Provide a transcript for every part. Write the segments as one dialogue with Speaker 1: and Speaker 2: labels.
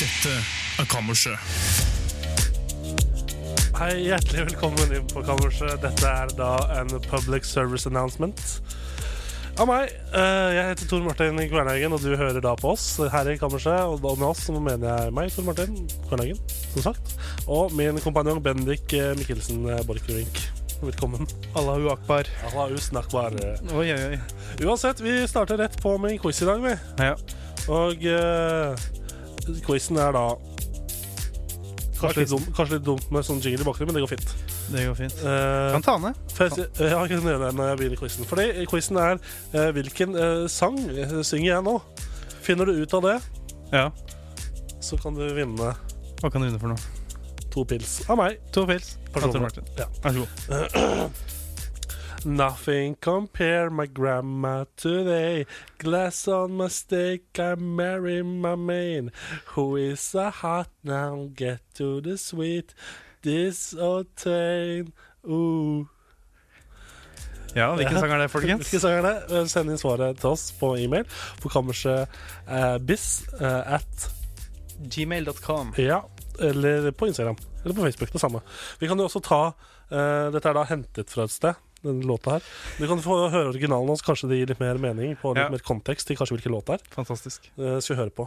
Speaker 1: Dette er Kammerset.
Speaker 2: Hei, hjertelig velkommen inn på kammerset. Dette er da en public service announcement av meg. Eh, Jeg heter Tor Martin Kvernhaugen, og du hører da på oss her i kammerset. Og da med oss så mener jeg meg, Tor Martin Kvernhaugen, som sagt. Og min kompanjong Bendik eh, Mikkelsen eh, Borchgrevink. Velkommen.
Speaker 3: Allahu akbar.
Speaker 2: Allahu snakbar.
Speaker 3: Oi, oi, oi.
Speaker 2: Uansett, vi starter rett på med en quiz i dag, vi.
Speaker 3: Ja.
Speaker 2: Og eh, quizen er da Kanskje litt, dumt, kanskje litt dumt med sånn jingle i bakgrunnen, men det går fint.
Speaker 3: Det går fint.
Speaker 2: Eh,
Speaker 3: Kan ta ned.
Speaker 2: Først, ja, jeg kan gjøre det når jeg begynner quizen. Fordi quizen er eh, hvilken eh, sang eh, synger jeg nå? Finner du ut av det,
Speaker 3: Ja.
Speaker 2: så kan du vinne
Speaker 3: Hva kan du vinne for noe?
Speaker 2: to pils av meg.
Speaker 3: To pils.
Speaker 2: Personlig.
Speaker 3: Av Tor Martin.
Speaker 2: Ja.
Speaker 3: Vær så god.
Speaker 2: Nothing compare my grandma today. Glass on my steak, I marry my main. Who is a hot now, get to the sweet. This obtain. Ooh.
Speaker 3: Ja, hvilken
Speaker 2: Ja.
Speaker 3: sang er det, folkens?
Speaker 2: Hvilke sanger er det? Eh, Send inn svaret til oss på e-mail på kammerset eh, bis eh, at
Speaker 3: Gmail.com.
Speaker 2: Ja, eller på Instagram. Eller på Facebook. Det samme. Vi kan jo også ta eh, Dette er da hentet fra et sted, denne låta her. Du kan få høre originalen hans, kanskje det gir litt mer mening på litt
Speaker 3: Ja.
Speaker 2: mer kontekst til kanskje hvilken låt det er.
Speaker 3: Fantastisk.
Speaker 2: Eh, skal vi høre på.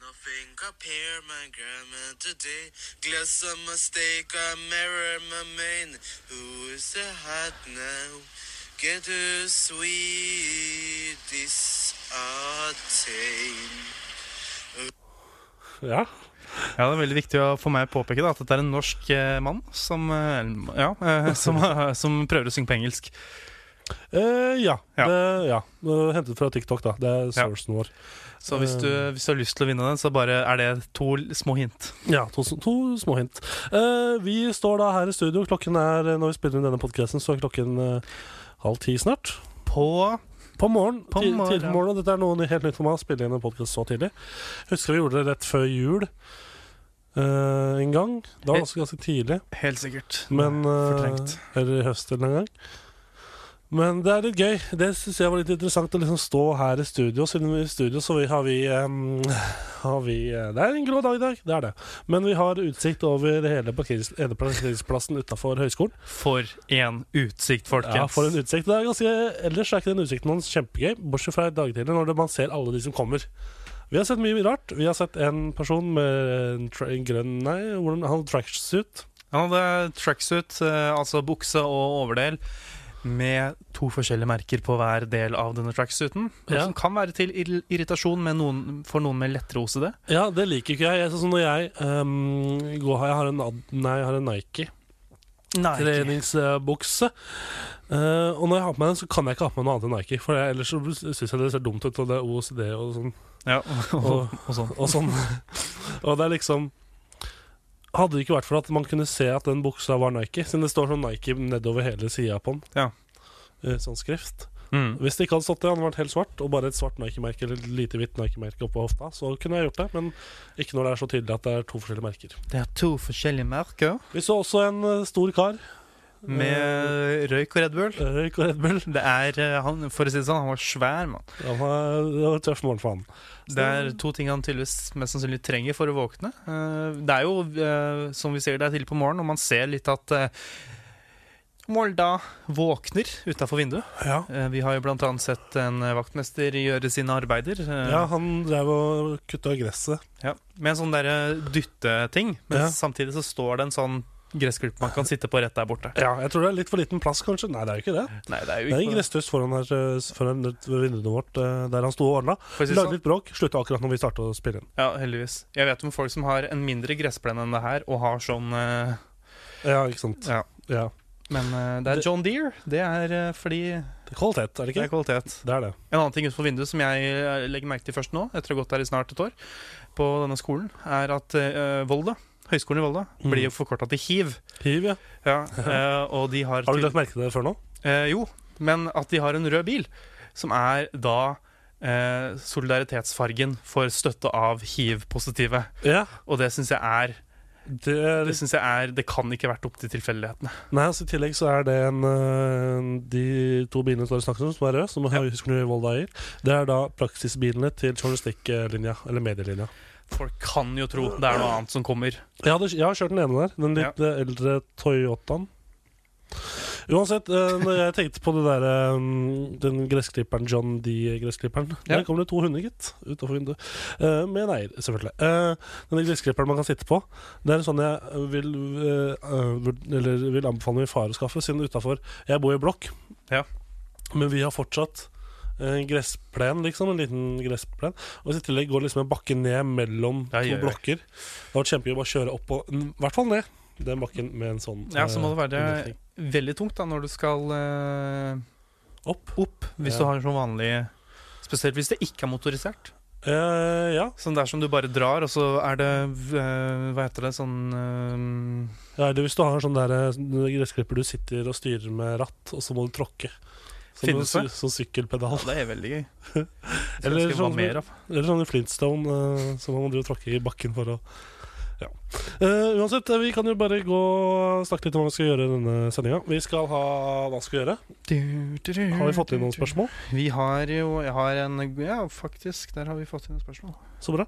Speaker 4: Nothing compare my grandma today. Glass of mistake, I mirror my main. Who is the hot now? Get her sweet, this a tame.
Speaker 2: Ja.
Speaker 3: Ja, det er veldig viktig å for meg å påpeke da, at dette er en norsk eh, mann som, eh, ja, eh, som, eh, som prøver å synge på engelsk.
Speaker 2: Eh, ja.
Speaker 3: Ja.
Speaker 2: Det, ja. Det er hentet fra TikTok, da. Det er sourcen vår.
Speaker 3: Så hvis du, hvis du har lyst til å vinne den, så bare er det to l- små hint.
Speaker 2: Ja, to, to små hint. Eh, vi står da her i studio. Klokken er, eh, Når vi spiller inn denne podkasten, så er klokken eh, halv ti snart.
Speaker 3: På
Speaker 2: På morgen,
Speaker 3: På
Speaker 2: tid-
Speaker 3: morgen.
Speaker 2: tidlig på morgenen. Dette er noe ny- helt nytt for meg å spille inn en podkast så tidlig. Husker vi gjorde det rett før jul eh, en gang. Da var det også ganske tidlig.
Speaker 3: Helt sikkert.
Speaker 2: Men, eh,
Speaker 3: Fortrengt.
Speaker 2: eller i høst eller en gang. Men det er litt gøy. Det syns jeg var litt interessant å liksom stå her i studio. Siden vi er i studio, så vi, har vi, em, har vi eh, Det er en grå dag i dag, det er det. Men vi har utsikt over hele parkerings- hele parkeringsplassen utafor høyskolen.
Speaker 3: For en utsikt, folkens.
Speaker 2: Ja, for en utsikt. Det er ganske, ellers er ikke den utsikten hans kjempegøy, bortsett fra i dagtidlig, når det- man ser alle de som kommer. Vi har sett mye rart. Vi har sett en person med en, tra en grønn Nei, hvordan han tracksuit.
Speaker 3: Han hadde tracksuit, eh, altså bukse og overdel, med to forskjellige merker på hver del av denne tracksuiten. noe
Speaker 2: Ja.
Speaker 3: Som kan være til ir- irritasjon med noen, for noen med lettere OCD.
Speaker 2: Ja, det liker ikke jeg. jeg. Sånn som når jeg ehm, går her, jeg har en, Ad- nei, jeg har en Nike
Speaker 3: Nei,
Speaker 2: treningsbukse. Eh, og når jeg har på meg den, så kan jeg ikke ha på meg noe annet enn Nike. For jeg, ellers så syns jeg det ser dumt ut, og det er OCD og sånn.
Speaker 3: ja, og,
Speaker 2: Og-
Speaker 3: og, sånn.
Speaker 2: og sånn. Og det er liksom Hadde det ikke vært for at man kunne se at den buksa var Nike, siden det står sånn Nike nedover hele sida på den.
Speaker 3: Ja.
Speaker 2: Eh, Sånn skrift.
Speaker 3: Mm.
Speaker 2: Hvis det ikke hadde stått det, hadde den vært helt svart, og bare et svart Nike-merke eller et lite hvitt Nike-merke oppå hofta, så kunne jeg gjort det, men ikke når det er så tydelig at det er to forskjellige merker.
Speaker 3: Det er to forskjellige merker
Speaker 2: Vi så også en eh, stor kar.
Speaker 3: med røyk og Red Bull.
Speaker 2: eh, Røyk og Red Bull.
Speaker 3: Det er, eh, han, for å si det sånn, han var svær, mann.
Speaker 2: Han var, det var en tøff morgen for han.
Speaker 3: Det er to ting han tydeligvis mest sannsynlig trenger for å våkne. Eh, Det er jo, eh, som vi ser det er tidlig på morgenen, og man ser litt at eh, Molda våkner utafor vinduet.
Speaker 2: Ja.
Speaker 3: Eh, Vi har jo blant annet sett en eh, vaktmester gjøre sine arbeider. eh,
Speaker 2: ja, han drev og kutta gresset.
Speaker 3: ja, Med en sånn derre dytteting, men
Speaker 2: Ja.
Speaker 3: samtidig så står det en sånn gressklipp man kan sitte på rett der borte.
Speaker 2: Ja, jeg tror det er litt for liten plass, kanskje. Nei, det er jo ikke det.
Speaker 3: Nei, det er
Speaker 2: Det
Speaker 3: jo
Speaker 2: er en
Speaker 3: ikke
Speaker 2: gresstuss foran, her, eh, foran et- ved vinduet vårt eh, der han sto og ordna.
Speaker 3: for å si det
Speaker 2: Lagde
Speaker 3: sånn.
Speaker 2: litt bråk, slutta akkurat når vi starta å spille inn.
Speaker 3: Ja, heldigvis. Jeg vet om folk som har en mindre gressplen enn det her, og har sånn eh,
Speaker 2: Ja, ikke sant.
Speaker 3: Ja.
Speaker 2: Ja.
Speaker 3: Men eh, det er
Speaker 2: Det-
Speaker 3: John Deere. Det er eh, fordi
Speaker 2: Det er kvalitet, er det
Speaker 3: Det er
Speaker 2: ikke?
Speaker 3: kvalitet.
Speaker 2: Det er det.
Speaker 3: En annen ting utenfor vinduet som jeg eh, legger merke til først nå, etter å ha gått der i snart et år, på denne skolen, er at eh, Volda, Høgskolen i Volda
Speaker 2: Mm.
Speaker 3: blir jo forkorta til HIV.
Speaker 2: Hiv, ja.
Speaker 3: Ja, eh, og de har,
Speaker 2: Har du
Speaker 3: til-
Speaker 2: lagt merke til det før nå?
Speaker 3: Eh, jo, men at de har en rød bil, som er da eh, solidaritetsfargen for støtte av hiv-positive.
Speaker 2: Ja.
Speaker 3: Og det syns jeg er
Speaker 2: Det, er
Speaker 3: Det
Speaker 2: litt-
Speaker 3: synes jeg er, det kan ikke vært opp til tilfeldighetene.
Speaker 2: nei, altså, I tillegg så er det en øh, De to bilene som dere snakket om, som er røde, som Høgskolen i Volda eier, det er da praksisbilene til journalistikklinja, eller medielinja.
Speaker 3: Folk kan jo tro det er noe annet som kommer.
Speaker 2: Jeg, hadde, jeg har kjørt den ene der. Den litt eh, eldre Toyotaen. Uansett, eh, når jeg tenkte på det der, eh, den gressklipperen, John D-gressklipperen
Speaker 3: Ja.
Speaker 2: Der kom det to hunder, gitt. Utenfor vinduet. Eh, med en eier, selvfølgelig. Eh, denne gressklipperen man kan sitte på, det er en sånn jeg vil, eh, eh, vurd- eller vil anbefale min far å skaffe, siden utafor Jeg bor i blokk,
Speaker 3: Ja.
Speaker 2: men vi har fortsatt en gressplen, liksom. En liten gressplen. Og i tillegg går liksom en bakke ned mellom
Speaker 3: Ja,
Speaker 2: to
Speaker 3: gjør det.
Speaker 2: blokker. Det var kjempegøy å bare kjøre opp og I hvert fall ned den bakken med en sånn
Speaker 3: Ja, så må det
Speaker 2: eh,
Speaker 3: være
Speaker 2: innretning.
Speaker 3: veldig tungt da når du skal eh,
Speaker 2: opp.
Speaker 3: opp, hvis
Speaker 2: Ja.
Speaker 3: du har sånn vanlig Spesielt hvis det ikke er motorisert.
Speaker 2: Eh, ja.
Speaker 3: Sånn dersom du bare drar, og så er det eh, Hva heter det? Sånn eh,
Speaker 2: ja. Eller hvis du har en sånn der eh, gressklipper du sitter og styrer med ratt, og så må du tråkke. Som, en
Speaker 3: Finnes
Speaker 2: sy
Speaker 3: det?
Speaker 2: som sykkelpedal.
Speaker 3: Ja, det er veldig gøy.
Speaker 2: Eller
Speaker 3: Eller
Speaker 2: sånn-
Speaker 3: sånn mer av.
Speaker 2: Eller sånn i Flintstone, eh, som man driver og tråkker i bakken for å ja. Eh, uansett, eh, vi kan jo bare gå og snakke litt om hva vi skal gjøre i denne sendinga. Vi skal ha hva skal vi gjøre. Har vi fått inn noen spørsmål?
Speaker 3: Vi har jo Jeg har en Ja, faktisk, der har vi fått inn et spørsmål.
Speaker 2: Så bra.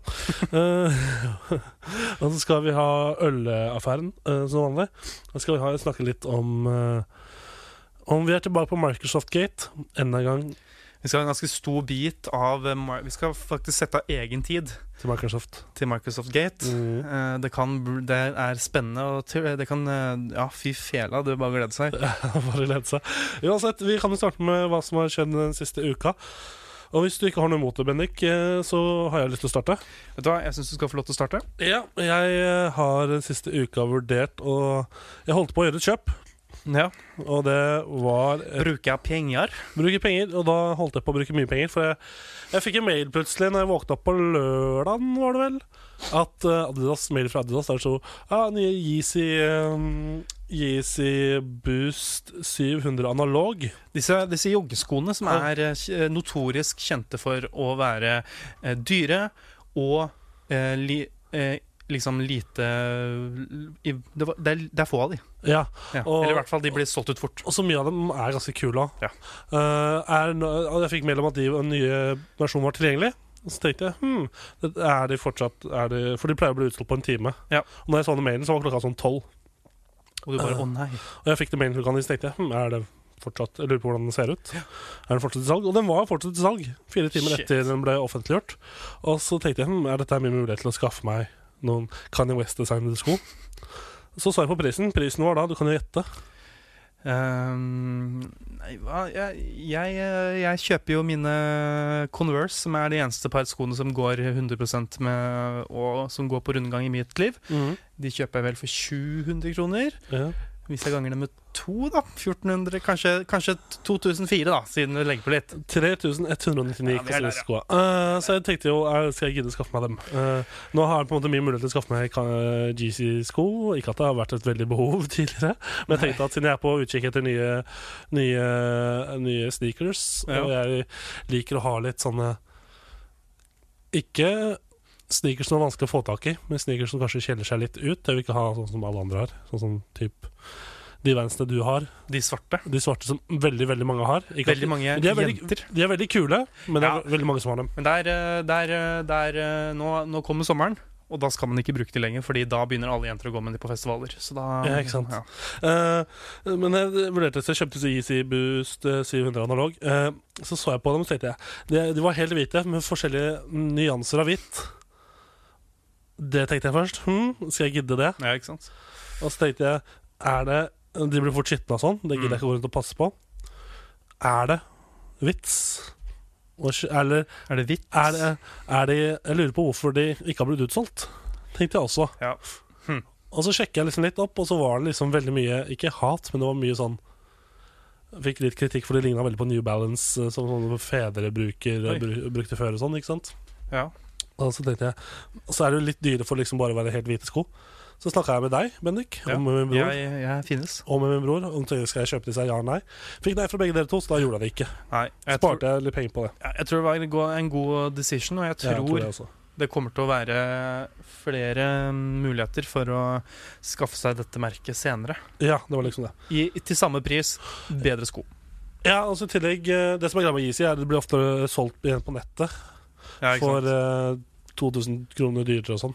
Speaker 2: Eh, og så skal vi ha ølaffæren eh, som vanlig. Og så skal vi ha, snakke litt om eh, om vi er tilbake på Microsoft Gate enda en gang
Speaker 3: Vi skal ha en ganske stor bit av eh, Mar- Vi skal faktisk sette av egen tid
Speaker 2: til Microsoft.
Speaker 3: til Microsoft Gate.
Speaker 2: Mm.
Speaker 3: Eh, Det, kan, bl- det er spennende og te- det kan eh, Ja, fy fela, det er bare å glede seg.
Speaker 2: Bare glede seg. Uansett, vi kan jo starte med hva som har skjedd den siste uka. Og hvis du ikke har noe imot det, Bendik, eh, så har jeg lyst til å starte.
Speaker 3: Vet du hva, jeg syns du skal få lov til å starte.
Speaker 2: Ja, jeg eh, har den siste uka vurdert og Jeg holdt på å gjøre et kjøp,
Speaker 3: Ja.
Speaker 2: og det var et
Speaker 3: Bruker jeg penger?
Speaker 2: Bruke penger, og da holdt jeg på å bruke mye penger. For jeg, jeg fikk en mail plutselig når jeg våkna opp på lørdagen, var det vel? At eh, Adidas, mail fra Adidas der sto ja, nye Yeezy, eh, Yeezy Boost 700 analog.
Speaker 3: Disse, disse joggeskoene som
Speaker 2: Ja.
Speaker 3: er eh, kj- notorisk kjente for å være eh, dyre og eh, li, eh, liksom lite i, det, var, det, er, det er få av de.
Speaker 2: Ja,
Speaker 3: Ja.
Speaker 2: Og-
Speaker 3: Eller i hvert fall, de blir solgt ut fort.
Speaker 2: Og så mye av dem er ganske kule.
Speaker 3: Ja.
Speaker 2: Eh, er nå- og jeg fikk mail om at de den nye versjonen var tilgjengelig. Og så tenkte jeg hm, det- er de fortsatt er de, For de pleier å bli utsolgt på en time.
Speaker 3: Ja.
Speaker 2: Og når jeg så den mailen, så var klokka sånn tolv.
Speaker 3: Og du bare
Speaker 2: Øh.
Speaker 3: å nei.
Speaker 2: Og jeg fikk det mailen klokka ni, så tenkte jeg hm, er det fortsatt Jeg lurer på hvordan den ser ut. Er den fortsatt i salg? Og den var fortsatt i salg, fire timer
Speaker 3: Shit.
Speaker 2: etter den ble offentliggjort. Og så tenkte jeg hm, er dette min mulighet til å skaffe meg noen Kanye West-designede sko. Så så jeg på prisen. Prisen var da, du kan jo gjette.
Speaker 3: Ehm, nei, hva jeg, jeg, eh, jeg kjøper jo mine Converse, som er de eneste par skoene som går 100 med, og som går på rundgang i mitt liv. De kjøper jeg vel for 700 kroner.
Speaker 2: Ja.
Speaker 3: Hvis jeg ganger det med to, da. 1400, kanskje, kanskje 2004, da, siden vi legger på litt.
Speaker 2: 3199
Speaker 3: Ja, vi er der, ja.
Speaker 2: koster skoa. Eh, så jeg tenkte jo eh, skal jeg gidde å skaffe meg dem. Eh, nå har jeg på en måte mye mulighet til å skaffe meg Ka- eh, GC-sko. Ikke at det har vært et veldig behov tidligere, men jeg tenkte at siden jeg er på utkikk etter nye, nye, nye sneakers,
Speaker 3: Ja.
Speaker 2: og jeg liker å ha litt sånne Ikke sneakers som er vanskelig å få tak i, men sneakers som kanskje skjeller seg litt ut. Jeg vil ikke ha sånn som alle andre har. Sånn som typ de Vansene du har.
Speaker 3: De svarte.
Speaker 2: De svarte som veldig, veldig mange har. Ikke at-
Speaker 3: Veldig mange
Speaker 2: de er veldig,
Speaker 3: jenter.
Speaker 2: de er veldig kule, men det er
Speaker 3: Ja.
Speaker 2: ve- veldig mange som har dem.
Speaker 3: Men der, eh, der, eh, der eh, nå, nå kommer sommeren. Og da skal man ikke bruke de lenger, Fordi da begynner alle jenter å gå med de på festivaler. Så da,
Speaker 2: Ja, ikke sant.
Speaker 3: Ja.
Speaker 2: Eh, men jeg vurderte så jeg kjøpte så Easy Boost eh, 700 analog. Eh, så så jeg på dem og så tenkte jeg de, de var helt hvite, med forskjellige nyanser av hvitt. Det tenkte jeg først. Hm, skal jeg gidde det?
Speaker 3: Ja, ikke sant?
Speaker 2: Og så tenkte jeg er det, De blir fort skitne og sånn. Det gidder jeg ikke gå rundt og passe på. Er det vits? Og sk- Eller
Speaker 3: Er det hvitt?
Speaker 2: er det, er det Jeg lurer på hvorfor de ikke har blitt utsolgt. Tenkte jeg også.
Speaker 3: Ja.
Speaker 2: Og så sjekket jeg liksom litt opp, og så var det liksom veldig mye Ikke hat, men det var mye sånn Fikk litt kritikk, for det ligna veldig på New Balance, eh, som sånne fedre bruker, eh,
Speaker 3: Oi.
Speaker 2: bru- brukte før. og sånn, ikke sant?
Speaker 3: Ja.
Speaker 2: Og så tenkte jeg, og så er det jo litt dyrere for liksom bare å være helt hvite sko. Så snakka jeg med deg, Bendik,
Speaker 3: Ja.
Speaker 2: om min bror.
Speaker 3: Jeg, jeg finnes.
Speaker 2: Og med min bror, om tenkte, skal jeg kjøpe disse, ja eller nei. Fikk nei fra begge dere to, så da gjorde jeg det ikke.
Speaker 3: Nei, jeg tror,
Speaker 2: Sparte jeg litt penger på det.
Speaker 3: jeg, jeg tror det var en go- en god decision, og jeg
Speaker 2: Ja,
Speaker 3: tror,
Speaker 2: jeg tror det også.
Speaker 3: det kommer til å være flere mm, muligheter for å skaffe seg dette merket senere.
Speaker 2: Ja, det var liksom det.
Speaker 3: I, til samme pris, bedre sko.
Speaker 2: Ja, altså i tillegg, eh, Det som er greia med Yeezy, er at det blir ofte solgt igjen på nettet
Speaker 3: Ja, ikke
Speaker 2: for
Speaker 3: sant?
Speaker 2: eh, 2000 kroner dyrere og sånn.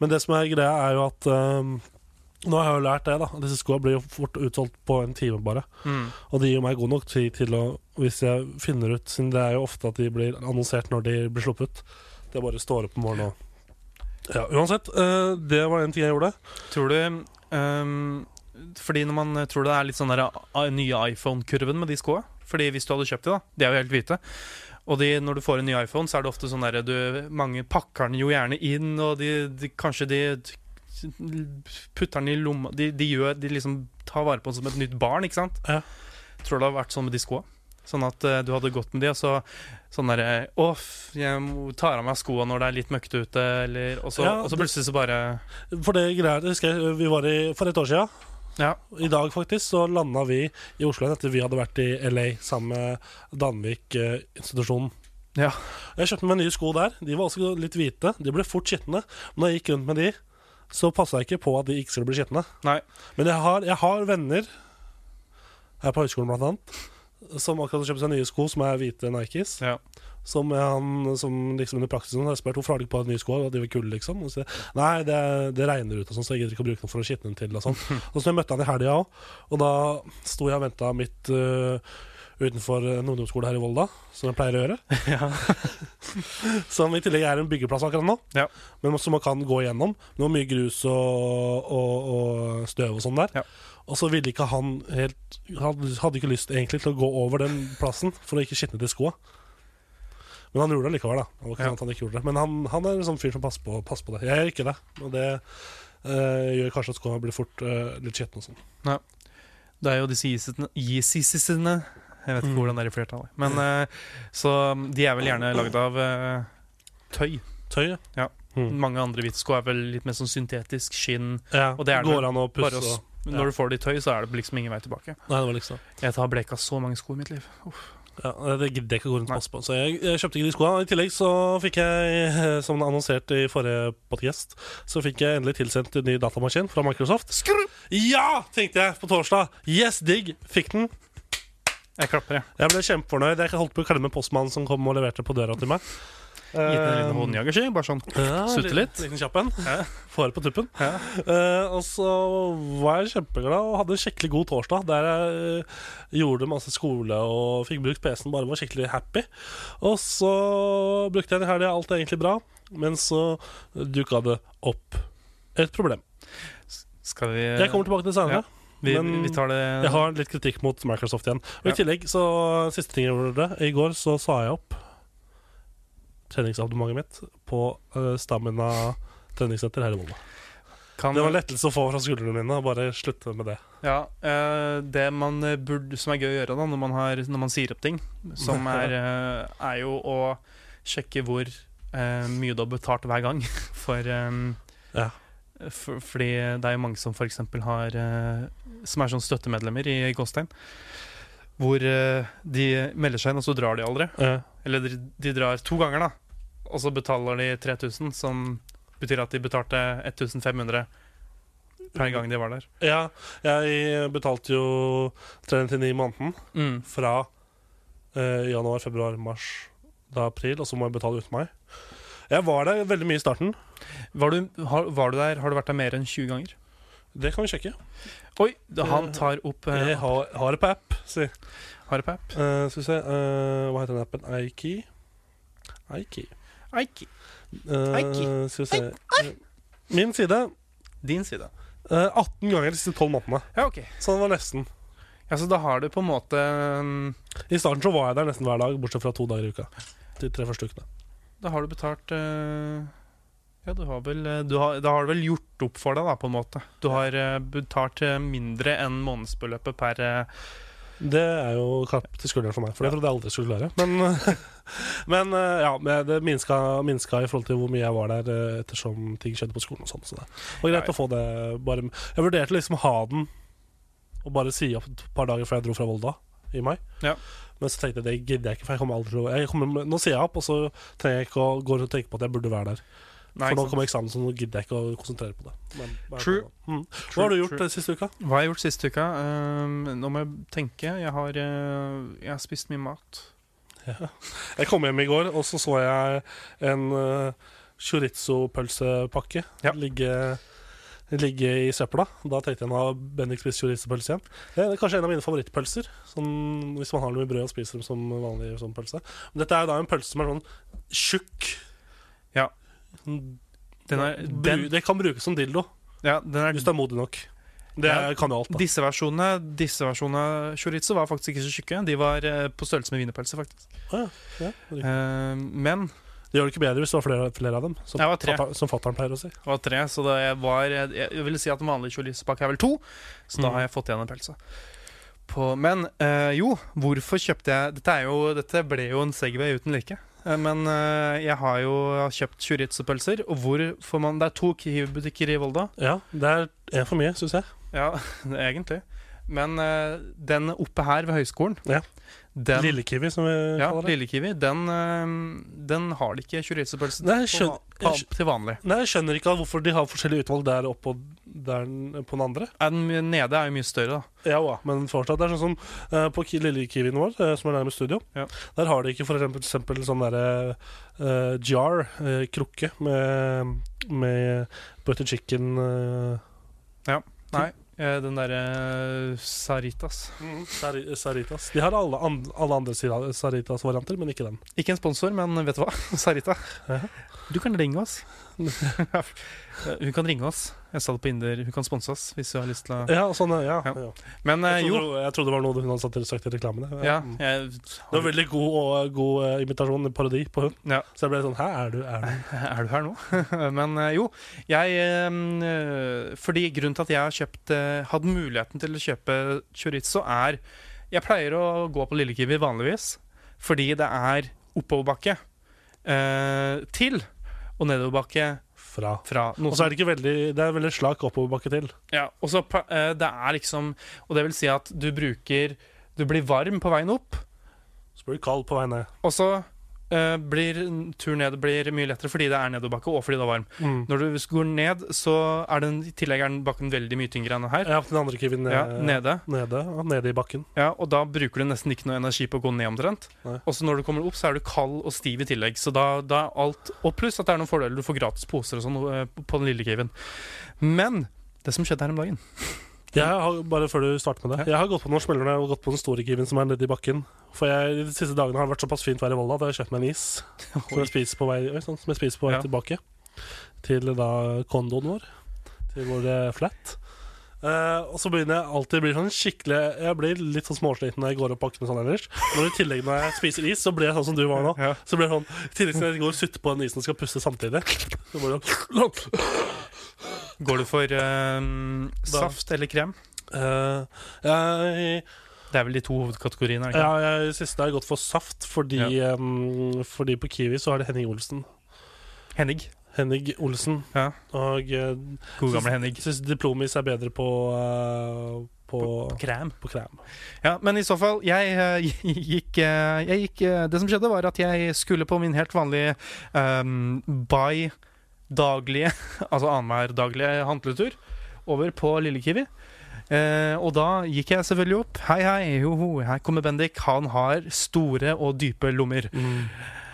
Speaker 2: Men det som er greia, er jo at eh, Nå har jeg jo lært det, da. Disse skoene blir jo fort utsolgt på en time, bare.
Speaker 3: Mm.
Speaker 2: Og de gir meg god nok tid til å Hvis jeg finner ut Siden det er jo ofte at de blir annonsert når de blir sluppet Det bare står opp om morgenen og ja, uansett, eh, det var en ting jeg gjorde
Speaker 3: Tror du ehm, Fordi når man tror det er litt sånn der a- nye iPhone-kurven med de skoa Fordi hvis du hadde kjøpt de, da De er jo helt hvite. Og de, når du får en ny iPhone, så er det ofte sånn derre du- Mange pakker den jo gjerne inn, og de, de kanskje de t- putter den i lomma De, de gjør De liksom tar vare på den som et nytt barn, ikke sant?
Speaker 2: Ja.
Speaker 3: Tror det har vært sånn med de skoa. Sånn at eh, du hadde gått med de, og så sånn derre Å, f- jeg må- tar av meg skoa når det er litt møkkete ute, eller Og så,
Speaker 2: Ja,
Speaker 3: og så
Speaker 2: det-
Speaker 3: plutselig så bare
Speaker 2: For det greia er, husker jeg, vi var i, for et år siden
Speaker 3: Ja.
Speaker 2: I dag faktisk, så landet vi i Oslo igjen Etter vi hadde vært i LA sammen med eh, Danvik-institusjonen
Speaker 3: Ja.
Speaker 2: Jeg kjøpte meg nye sko der De var også litt hvite, de ble fort skittende Men når jeg gikk rundt med de Så passet jeg ikke på at de ikke skulle bli skittende
Speaker 3: Nei.
Speaker 2: Men jeg har, jeg har venner her på høyskolen blant annet som akkurat har kjøpt seg nye sko som er hvite Nikes.
Speaker 3: Ja.
Speaker 2: Som, han, som liksom under praksisen har spurt hvorfor har du ikke på deg nye sko. Og de var kule liksom og så, sier jeg, Nei, det, det regner ut, og sånn så jeg gidder ikke å bruke dem for å skitne dem til. Og sånn Og så jeg møtte han i helga òg, og da sto jeg og venta midt øh, utenfor en ungdomsskole her i Volda, som jeg pleier å gjøre.
Speaker 3: Ja.
Speaker 2: Som i tillegg er en byggeplass akkurat nå,
Speaker 3: Ja.
Speaker 2: men som man kan gå igjennom. Det var mye grus og, og, og støv og sånn der.
Speaker 3: Ja.
Speaker 2: Og så ville ikke han helt Han hadde ikke lyst egentlig til å gå over den plassen for å ikke skitne til skoa. Men han gjorde det likevel, da. Det var ikke
Speaker 3: Ja.
Speaker 2: sant at han ikke gjorde det Men han, han er en sånn fyr som passer på, passer på det. Jeg gjør ikke det. Og det eh, gjør kanskje at skoa blir fort eh, litt skitne og sånn.
Speaker 3: Det er jo disse Yeezysene- Yeezysene Jeg vet ikke
Speaker 2: Mm.
Speaker 3: hvordan det er i flertallet. Men eh, Så de er vel gjerne lagd av eh, tøy.
Speaker 2: Tøy. ja.
Speaker 3: Ja.
Speaker 2: Mm.
Speaker 3: Mange andre hvite sko er vel litt mer sånn syntetisk skinn.
Speaker 2: Ja,
Speaker 3: Og det er det
Speaker 2: Går an å pusse
Speaker 3: Bare å s-
Speaker 2: og ja.
Speaker 3: Når du får det i tøy, så er det liksom ingen vei tilbake.
Speaker 2: Nei, det var liksom
Speaker 3: Jeg har bleka så mange sko i mitt liv.
Speaker 2: Ja, det gidder jeg ikke å gå rundt og
Speaker 3: Nei.
Speaker 2: passe på. Så jeg, jeg kjøpte ikke de skoene. I tillegg så fikk jeg, eh, som annonsert i forrige podcast, så fikk jeg endelig tilsendt en ny datamaskin fra Microsoft. Ja, tenkte jeg på torsdag. Yes, digg. Fikk den.
Speaker 3: Jeg klapper, jeg.
Speaker 2: Jeg ble kjempefornøyd. Jeg holdt på å klemme postmannen som kom og leverte på døra til meg.
Speaker 3: Gitt den en liten
Speaker 2: Eh,
Speaker 3: håndjagerski. Bare sånn.
Speaker 2: ja,
Speaker 3: Sutte
Speaker 2: liten-
Speaker 3: litt.
Speaker 2: Liten kjapp en.
Speaker 3: Ja.
Speaker 2: Får det på tuppen.
Speaker 3: Ja.
Speaker 2: Eh, og så var jeg kjempeglad og hadde en skikkelig god torsdag der jeg eh, gjorde masse skole og fikk brukt PC-en, bare var skikkelig happy. Og så brukte jeg en helg, alt er egentlig bra, men så dukka det opp et problem.
Speaker 3: Skal vi
Speaker 2: Jeg kommer tilbake til det senere.
Speaker 3: vi,
Speaker 2: men-
Speaker 3: vi tar det
Speaker 2: Jeg har litt kritikk mot Microsoft igjen. Og
Speaker 3: Ja.
Speaker 2: i tillegg, så siste ting jeg gjorde I går så sa jeg opp treningsabonnementet mitt på eh, Stamina treningssenter her i Volda.
Speaker 3: kan,
Speaker 2: Det var en lettelse å få fra skuldrene mine. og Bare slutte med det.
Speaker 3: Ja, eh, det man eh, burde, som er gøy å gjøre da, når man, har, når man sier opp ting, som er, eh, er jo å sjekke hvor eh, mye du har betalt hver gang. For, eh,
Speaker 2: Ja.
Speaker 3: for, fordi det er jo mange som for eksempel har eh, Som er sånn støttemedlemmer i Gåstein. Hvor eh, de melder seg inn, og så drar de aldri.
Speaker 2: Eh,
Speaker 3: Eller de, de drar to ganger, da. Og så betaler de 3000, som betyr at de betalte 1500 per gang de var der.
Speaker 2: ja, jeg betalte jo 399 i måneden
Speaker 3: Mm.
Speaker 2: fra eh, januar, februar, mars, da april, og så må jeg betale uten meg. Jeg var der veldig mye i starten.
Speaker 3: Var du, har, var du der, har du vært der mer enn 20 ganger?
Speaker 2: Det kan vi sjekke.
Speaker 3: Oi, da han tar opp
Speaker 2: Jeg
Speaker 3: eh,
Speaker 2: har, har det på app, si.
Speaker 3: Harpap.
Speaker 2: Eh, skal vi se eh, Hva heter den appen? Aiki? Aiki.
Speaker 3: Eik,
Speaker 2: Eh,
Speaker 3: Aiki.
Speaker 2: Skal vi se Eh, Min side
Speaker 3: din side.
Speaker 2: eh, 18 ganger de siste 12 månedene.
Speaker 3: Ja, ok.
Speaker 2: Så det var nesten.
Speaker 3: Ja, så da har du på en måte mm,
Speaker 2: I starten så var jeg der nesten hver dag, bortsett fra to dager i uka. De tre første ukene.
Speaker 3: Da har du betalt eh, Ja, du har vel eh, du har, Da har du vel gjort opp for deg, da, på en måte. Du har eh, betalt eh, mindre enn månedsbeløpet per eh,
Speaker 2: Det er jo klapp til skulderen for meg, for det trodde jeg aldri skulle klare. Men, men eh, ja, men det minska, minska i forhold til hvor mye jeg var der eh, ettersom ting skjedde på skolen og sånn. Så det var greit å få det bare Jeg vurderte liksom å ha den og bare si opp et par dager før jeg dro fra Volda i mai.
Speaker 3: Ja.
Speaker 2: Men så tenkte jeg det gidder jeg ikke, for jeg kommer aldri til å jeg kommer, Nå sier jeg opp, og så trenger jeg ikke å gå rundt og tenke på at jeg burde være der. for
Speaker 3: Nei, ikke
Speaker 2: nå
Speaker 3: sant.
Speaker 2: kommer eksamen, så nå gidder jeg ikke å konsentrere på det. Men, bare
Speaker 3: True.
Speaker 2: ta det. Mm. Hva har du gjort
Speaker 3: true.
Speaker 2: eh, siste uka?
Speaker 3: Hva har jeg gjort siste uka? Ehm, nå må jeg tenke. Jeg har, eh, jeg har spist mye mat.
Speaker 2: Jeg kom hjem i går, og så så jeg en eh, chorizo-pølsepakke
Speaker 3: Ja.
Speaker 2: ligge, ligge i søpla. Da tenkte jeg nå har Bendik spist chorizo-pølse igjen. Det er kanskje en av mine favorittpølser, sånn, hvis man har dem i brød og spiser dem som vanlig sånn pølse. Men dette er da en pølse som er sånn tjukk.
Speaker 3: Ja.
Speaker 2: Den
Speaker 3: Den er, den,
Speaker 2: Bru- Det kan brukes som dildo,
Speaker 3: ja, den er
Speaker 2: hvis du er modig nok. Det
Speaker 3: Ja.
Speaker 2: er- kan jo alt, da.
Speaker 3: Disse versjonene Disse versjonene chorizo var faktisk ikke så tjukke. De var eh, på størrelse med wienerpølse, faktisk.
Speaker 2: Å ja, ja.
Speaker 3: Ehm, men
Speaker 2: Det gjør det ikke bedre hvis du har flere, flere av dem, som
Speaker 3: Jeg var tre.
Speaker 2: fatter- som fatter'n pleier å si.
Speaker 3: det var tre, så det var Jeg, jeg ville si at en vanlig chorizo-pakke er vel to, så da
Speaker 2: Mhm.
Speaker 3: har jeg fått igjen en pølse. På, men eh, jo, hvorfor kjøpte jeg Dette, er jo, dette ble jo en Segway uten like. Eh, Men eh, jeg har jo kjøpt chorizo-pølser. Og hvorfor man Det er to Kiwi-butikker i Volda.
Speaker 2: Ja, det er en for mye, syns jeg.
Speaker 3: Ja, egentlig. Men eh, den oppe her ved høyskolen
Speaker 2: Ja.
Speaker 3: den,
Speaker 2: Lille Kiwi, som vi
Speaker 3: ja,
Speaker 2: kaller det.
Speaker 3: lille kiwi, den, eh, den har de ikke chorizo-pølse
Speaker 2: Nei, jeg
Speaker 3: på
Speaker 2: skjønner-
Speaker 3: va-
Speaker 2: jeg
Speaker 3: på- til vanlig.
Speaker 2: Nei, Jeg skjønner ikke hvorfor de har forskjellige utvalg der oppe og der n- på den andre.
Speaker 3: Ja, Den nede er jo mye større, da.
Speaker 2: Ja, ja, men fortsatt, det er sånn som eh, på Ki- lille Kiwien vår, eh, som er nærmest studio,
Speaker 3: Ja.
Speaker 2: der har de ikke for eksempel, eksempel sånn derre eh, jar, eh, krukke, med, med butter chicken eh,
Speaker 3: Eh, Den derre Saritas.
Speaker 2: sari- Saritas. De har alle, an alle andre sira- Saritas-varianter, men ikke den.
Speaker 3: Ikke en sponsor, men vet du hva? Sarita.
Speaker 2: Ja.
Speaker 3: Du kan ringe oss. Hun kan ringe oss. Jeg sa det på Inder. Hun kan sponse oss hvis hun har lyst til å
Speaker 2: Ja, sånn, ja.
Speaker 3: Ja.
Speaker 2: ja.
Speaker 3: Men eh,
Speaker 2: Jeg,
Speaker 3: jo.
Speaker 2: trodde, jeg trodde det var noe hun hadde satt til sagt i reklamene.
Speaker 3: Ja,
Speaker 2: Mm.
Speaker 3: jeg,
Speaker 2: Det var veldig god, og, god eh, imitasjon, en parodi på hun.
Speaker 3: Ja.
Speaker 2: Så jeg ble sånn Hæ, er du, er du?
Speaker 3: Er du her nå? Men eh, jo, jeg eh, Fordi grunnen til at jeg har kjøpt eh, hatt muligheten til å kjøpe chorizo, er Jeg pleier å gå på Lille Kiwi vanligvis fordi det er oppoverbakke eh, til og nedoverbakke
Speaker 2: Fra.
Speaker 3: fra. Noe
Speaker 2: Og så er det ikke veldig Det er veldig slak oppoverbakke til.
Speaker 3: Ja, og så pa- eh, det er liksom Og det vil si at du bruker Du blir varm på veien opp,
Speaker 2: Så blir du kald på vei ned.
Speaker 3: og så eh, blir tur ned blir mye lettere fordi det er nedoverbakke og fordi det er varm. Når du går ned, så er den, i tillegg er den bakken veldig mye tyngre enn her.
Speaker 2: Jeg har hatt den andre kiwien ned,
Speaker 3: Ja, nede.
Speaker 2: nede. Ja, nede i bakken.
Speaker 3: Ja, og da bruker du nesten ikke noe energi på å gå ned omtrent.
Speaker 2: Nei.
Speaker 3: Og så når du kommer opp, så er du kald og stiv i tillegg. Så da, da er alt Og pluss at det er noen fordeler. Du får gratis poser og sånn eh, på den lille caven. Men det som skjedde her om dagen
Speaker 2: Jeg har, bare før du starter med det
Speaker 3: Ja.
Speaker 2: Jeg har gått på noen smeller når jeg har gått på den store kiwien som er nede i bakken. For jeg, de siste dagene har det vært såpass fint vær i Volda at jeg har kjøpt meg en is som jeg spiser på vei, oi, sånn, som jeg spiser på vei
Speaker 3: Ja.
Speaker 2: tilbake til da kondoen vår. Til vår eh, flat. Eh, og så begynner jeg alltid å bli sånn skikkelig Jeg blir litt sånn småsliten når jeg går opp bakken og sånn ellers. Men i tillegg når jeg spiser is, så blir jeg sånn som du var nå.
Speaker 3: Ja.
Speaker 2: Så blir jeg sånn I tillegg til at jeg går og sutter på den isen og skal puste samtidig. Så blir det sånn
Speaker 3: Går du for eh, saft eller krem?
Speaker 2: Eh, jeg,
Speaker 3: Det er vel de to hovedkategoriene? er det
Speaker 2: ja,
Speaker 3: ikke?
Speaker 2: jeg, siste har jeg gått for saft, fordi, em, fordi på Kiwi så er det Henning Olsen.
Speaker 3: Henning.
Speaker 2: Henning Olsen.
Speaker 3: Ja.
Speaker 2: Og eh,
Speaker 3: God gamle Henning.
Speaker 2: jeg syns diplomis er bedre på eh, på, på,
Speaker 3: Krem.
Speaker 2: krem.
Speaker 3: Ja, men i så fall, jeg eh, gikk, eh, jeg gikk eh, Det som skjedde, var at jeg skulle på min helt vanlige um, by-daglige, altså annenhver daglige handletur, over på Lille Kiwi. Eh, og da gikk jeg selvfølgelig opp. Hei, hei, joho, her kommer Bendik. Han har store og dype lommer.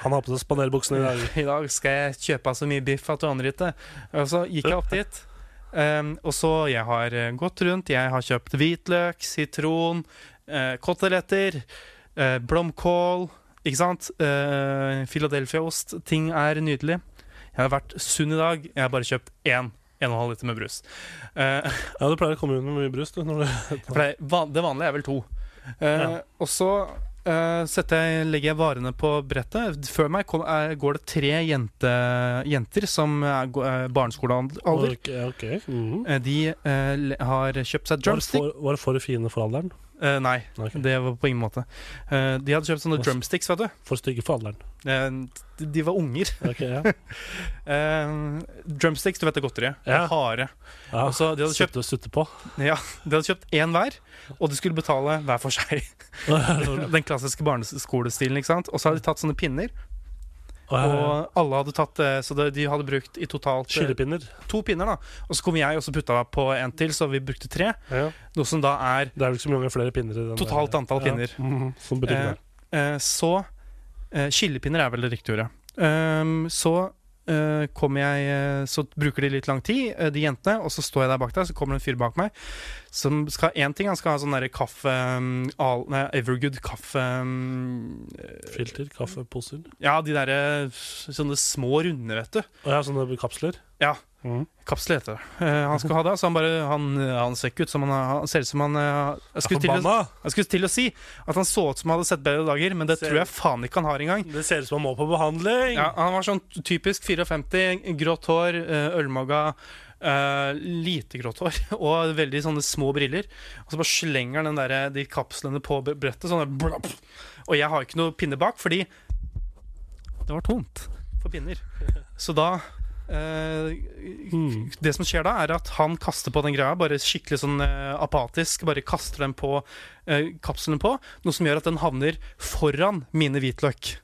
Speaker 2: Han har på seg spanerbuksene i dag.
Speaker 3: I dag skal jeg kjøpe så mye biff at du aner ikke. Og så gikk jeg opp dit. Um, og så jeg har eh, gått rundt. Jeg har kjøpt hvitløk, sitron, eh, koteletter, eh, blomkål Ikke sant? Eh, Philadelphia-ost. Ting er nydelig. Jeg har vært sunn i dag. Jeg har bare kjøpt én. 1,5 liter med brus. Eh,
Speaker 2: Ja, du pleier å komme ut med mye brus. Du, når du,
Speaker 3: for det, er van- det vanlige er vel to. Eh,
Speaker 2: Ja.
Speaker 3: Og så eh, setter jeg, legger jeg varene på brettet. Før meg kom, er, går det tre jente, jenter som er gå- er barneskolealder.
Speaker 2: Ok, ok. Mhm.
Speaker 3: Eh, De eh, le- har kjøpt
Speaker 2: Var,
Speaker 3: seg
Speaker 2: det
Speaker 3: drumstick.
Speaker 2: for, var det for fine for alderen?
Speaker 3: Eh, nei,
Speaker 2: Ok.
Speaker 3: det var på ingen måte. Eh, de hadde kjøpt sånne drumsticks, vet du.
Speaker 2: For stygge for alderen.
Speaker 3: Eh, de- de var unger.
Speaker 2: Ok, ja.
Speaker 3: Eh, drumsticks, du vet det godteriet.
Speaker 2: Ja.
Speaker 3: Harde.
Speaker 2: ja.
Speaker 3: Og så de hadde kjøpt
Speaker 2: Sutte og sutte på.
Speaker 3: Ja, de hadde kjøpt én hver, og de skulle betale hver for seg. Den klassiske barneskolestilen. ikke sant? Og så hadde de tatt sånne pinner,
Speaker 2: Og
Speaker 3: og alle hadde tatt eh, Så de de hadde brukt i totalt eh,
Speaker 2: skyllepinner.
Speaker 3: to pinner, da. Og så kom jeg og så putta på en til, så vi brukte tre.
Speaker 2: Ja.
Speaker 3: Noe som da er
Speaker 2: Det er vel ikke så mange flere pinner i den
Speaker 3: totalt antall
Speaker 2: Ja.
Speaker 3: pinner.
Speaker 2: Mhm, Som butikken
Speaker 3: Eh,
Speaker 2: er.
Speaker 3: eh, så eh, Skillepinner er vel det riktige ordet. Ehm, så eh, kommer jeg eh, Så bruker de litt lang tid, eh, de jentene, og så står jeg der bak der, så kommer det en fyr bak meg som skal ha én ting. Han skal ha sånn derre kaffe mm, al, Nei, Evergood kaffe mm,
Speaker 2: Filter, kaffe, poser.
Speaker 3: Ja, de derre sånne små runde, vet du.
Speaker 2: Og jeg har sånne kapsler.
Speaker 3: Kapsel heter det. Eh, han skal ha det, så han bare Han, han ser ikke ut som han, han ser ut som han eh, jeg, skulle til å,
Speaker 2: Forbanna!
Speaker 3: jeg skulle til å si at han så ut som han hadde sett bedre dager, men det
Speaker 2: Ser-
Speaker 3: tror jeg faen ikke han har engang.
Speaker 2: Det ser ut som han må på behandling!
Speaker 3: Ja, han var sånn typisk 54, grått hår, eh, ølmaga, eh, lite grått hår og veldig sånne små briller. Og så bare slenger han den der, eh, de kapslene på bre- brettet, sånn der, blapp. Og jeg har ikke noe pinne bak, fordi det var tomt for pinner. Så da eh,
Speaker 2: Mm.
Speaker 3: Det som skjer da, er at han kaster på den greia, bare skikkelig sånn eh, apatisk. Bare kaster den på eh, kapselen på, noe som gjør at den havner foran mine hvitløk.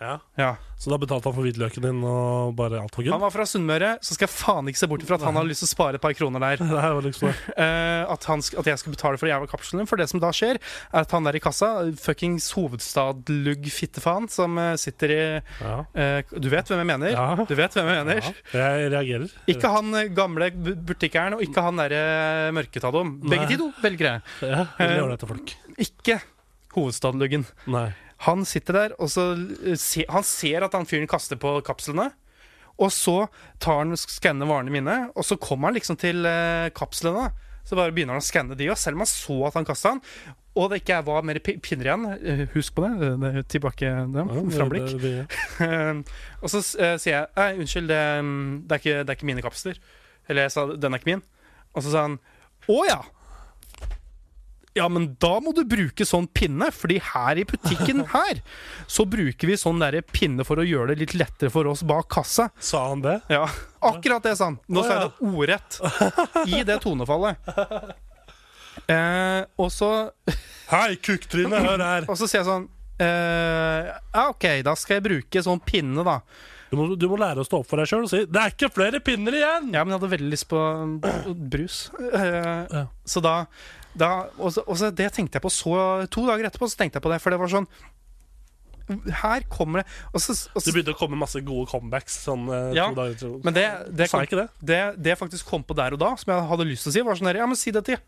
Speaker 2: Ja.
Speaker 3: Ja.
Speaker 2: Så da betalte han for hvitløken din, og bare alt var good?
Speaker 3: Han var fra Sunnmøre, så skal jeg faen ikke se bort ifra at han har lyst til å spare et par kroner der.
Speaker 2: Det her var liksom det.
Speaker 3: Eh, at, han, sk- at jeg skal betale for det jævla kapselen. For det som da skjer, er at han der i kassa, fuckings hovedstadlugg-fittefaen, som eh, sitter i
Speaker 2: Ja.
Speaker 3: eh, Du vet hvem jeg mener?
Speaker 2: Ja.
Speaker 3: Du vet hvem jeg mener?
Speaker 2: ja. Jeg reagerer.
Speaker 3: Ikke han eh, gamle bu- butikkeren, og ikke han derre mørketadom. Begge
Speaker 2: Nei.
Speaker 3: de to velgere.
Speaker 2: Ja, jeg gjør det til folk.
Speaker 3: Ikke hovedstadluggen.
Speaker 2: Nei.
Speaker 3: Han sitter der, og så eh, se, han ser at han fyren kaster på kapslene. Og så tar han skanner varene mine, og så kommer han liksom til eh, kapslene. Så bare begynner han å skanne de, og selv om han så at han kasta den, og det ikke var mer pi- pinner igjen eh, Husk på det. eh, det er tilbake det,
Speaker 2: Ja, det-
Speaker 3: framblikk.
Speaker 2: det- det-
Speaker 3: og så eh, sier jeg Nei, unnskyld, det, mm, det, er ikke, det er ikke mine kapsler. Eller jeg sa den er ikke min. Og så sa han å ja! Ja, men da må du bruke sånn pinne, fordi her i butikken her så bruker vi sånn derre pinne for å gjøre det litt lettere for oss bak kassa.
Speaker 2: Sa han det?
Speaker 3: Ja, akkurat det sa han. Nå
Speaker 2: Å,
Speaker 3: sa jeg det ordrett. I det tonefallet. Eh, og, så,
Speaker 2: Hei, kukktryne, hør her!
Speaker 3: og så sier jeg sånn eh, Ja, OK, da skal jeg bruke sånn pinne, da.
Speaker 2: Du må, du må lære å stå opp for deg sjøl og si 'Det er ikke flere pinner igjen!'
Speaker 3: Ja, men jeg hadde veldig lyst på um, brus. Eh,
Speaker 2: Ja.
Speaker 3: Så da, da og, så, og så det tenkte jeg på så To dager etterpå så tenkte jeg på det, for det var sånn Her kommer det og så, og
Speaker 2: Det
Speaker 3: så,
Speaker 2: begynte å komme masse gode comebacks sånn eh,
Speaker 3: Ja,
Speaker 2: to dager til.
Speaker 3: Men det, det,
Speaker 2: Sa
Speaker 3: kom,
Speaker 2: jeg ikke det?
Speaker 3: det, det jeg faktisk kom på der og da, som jeg hadde lyst til å si, var sånn her Ja, men si det til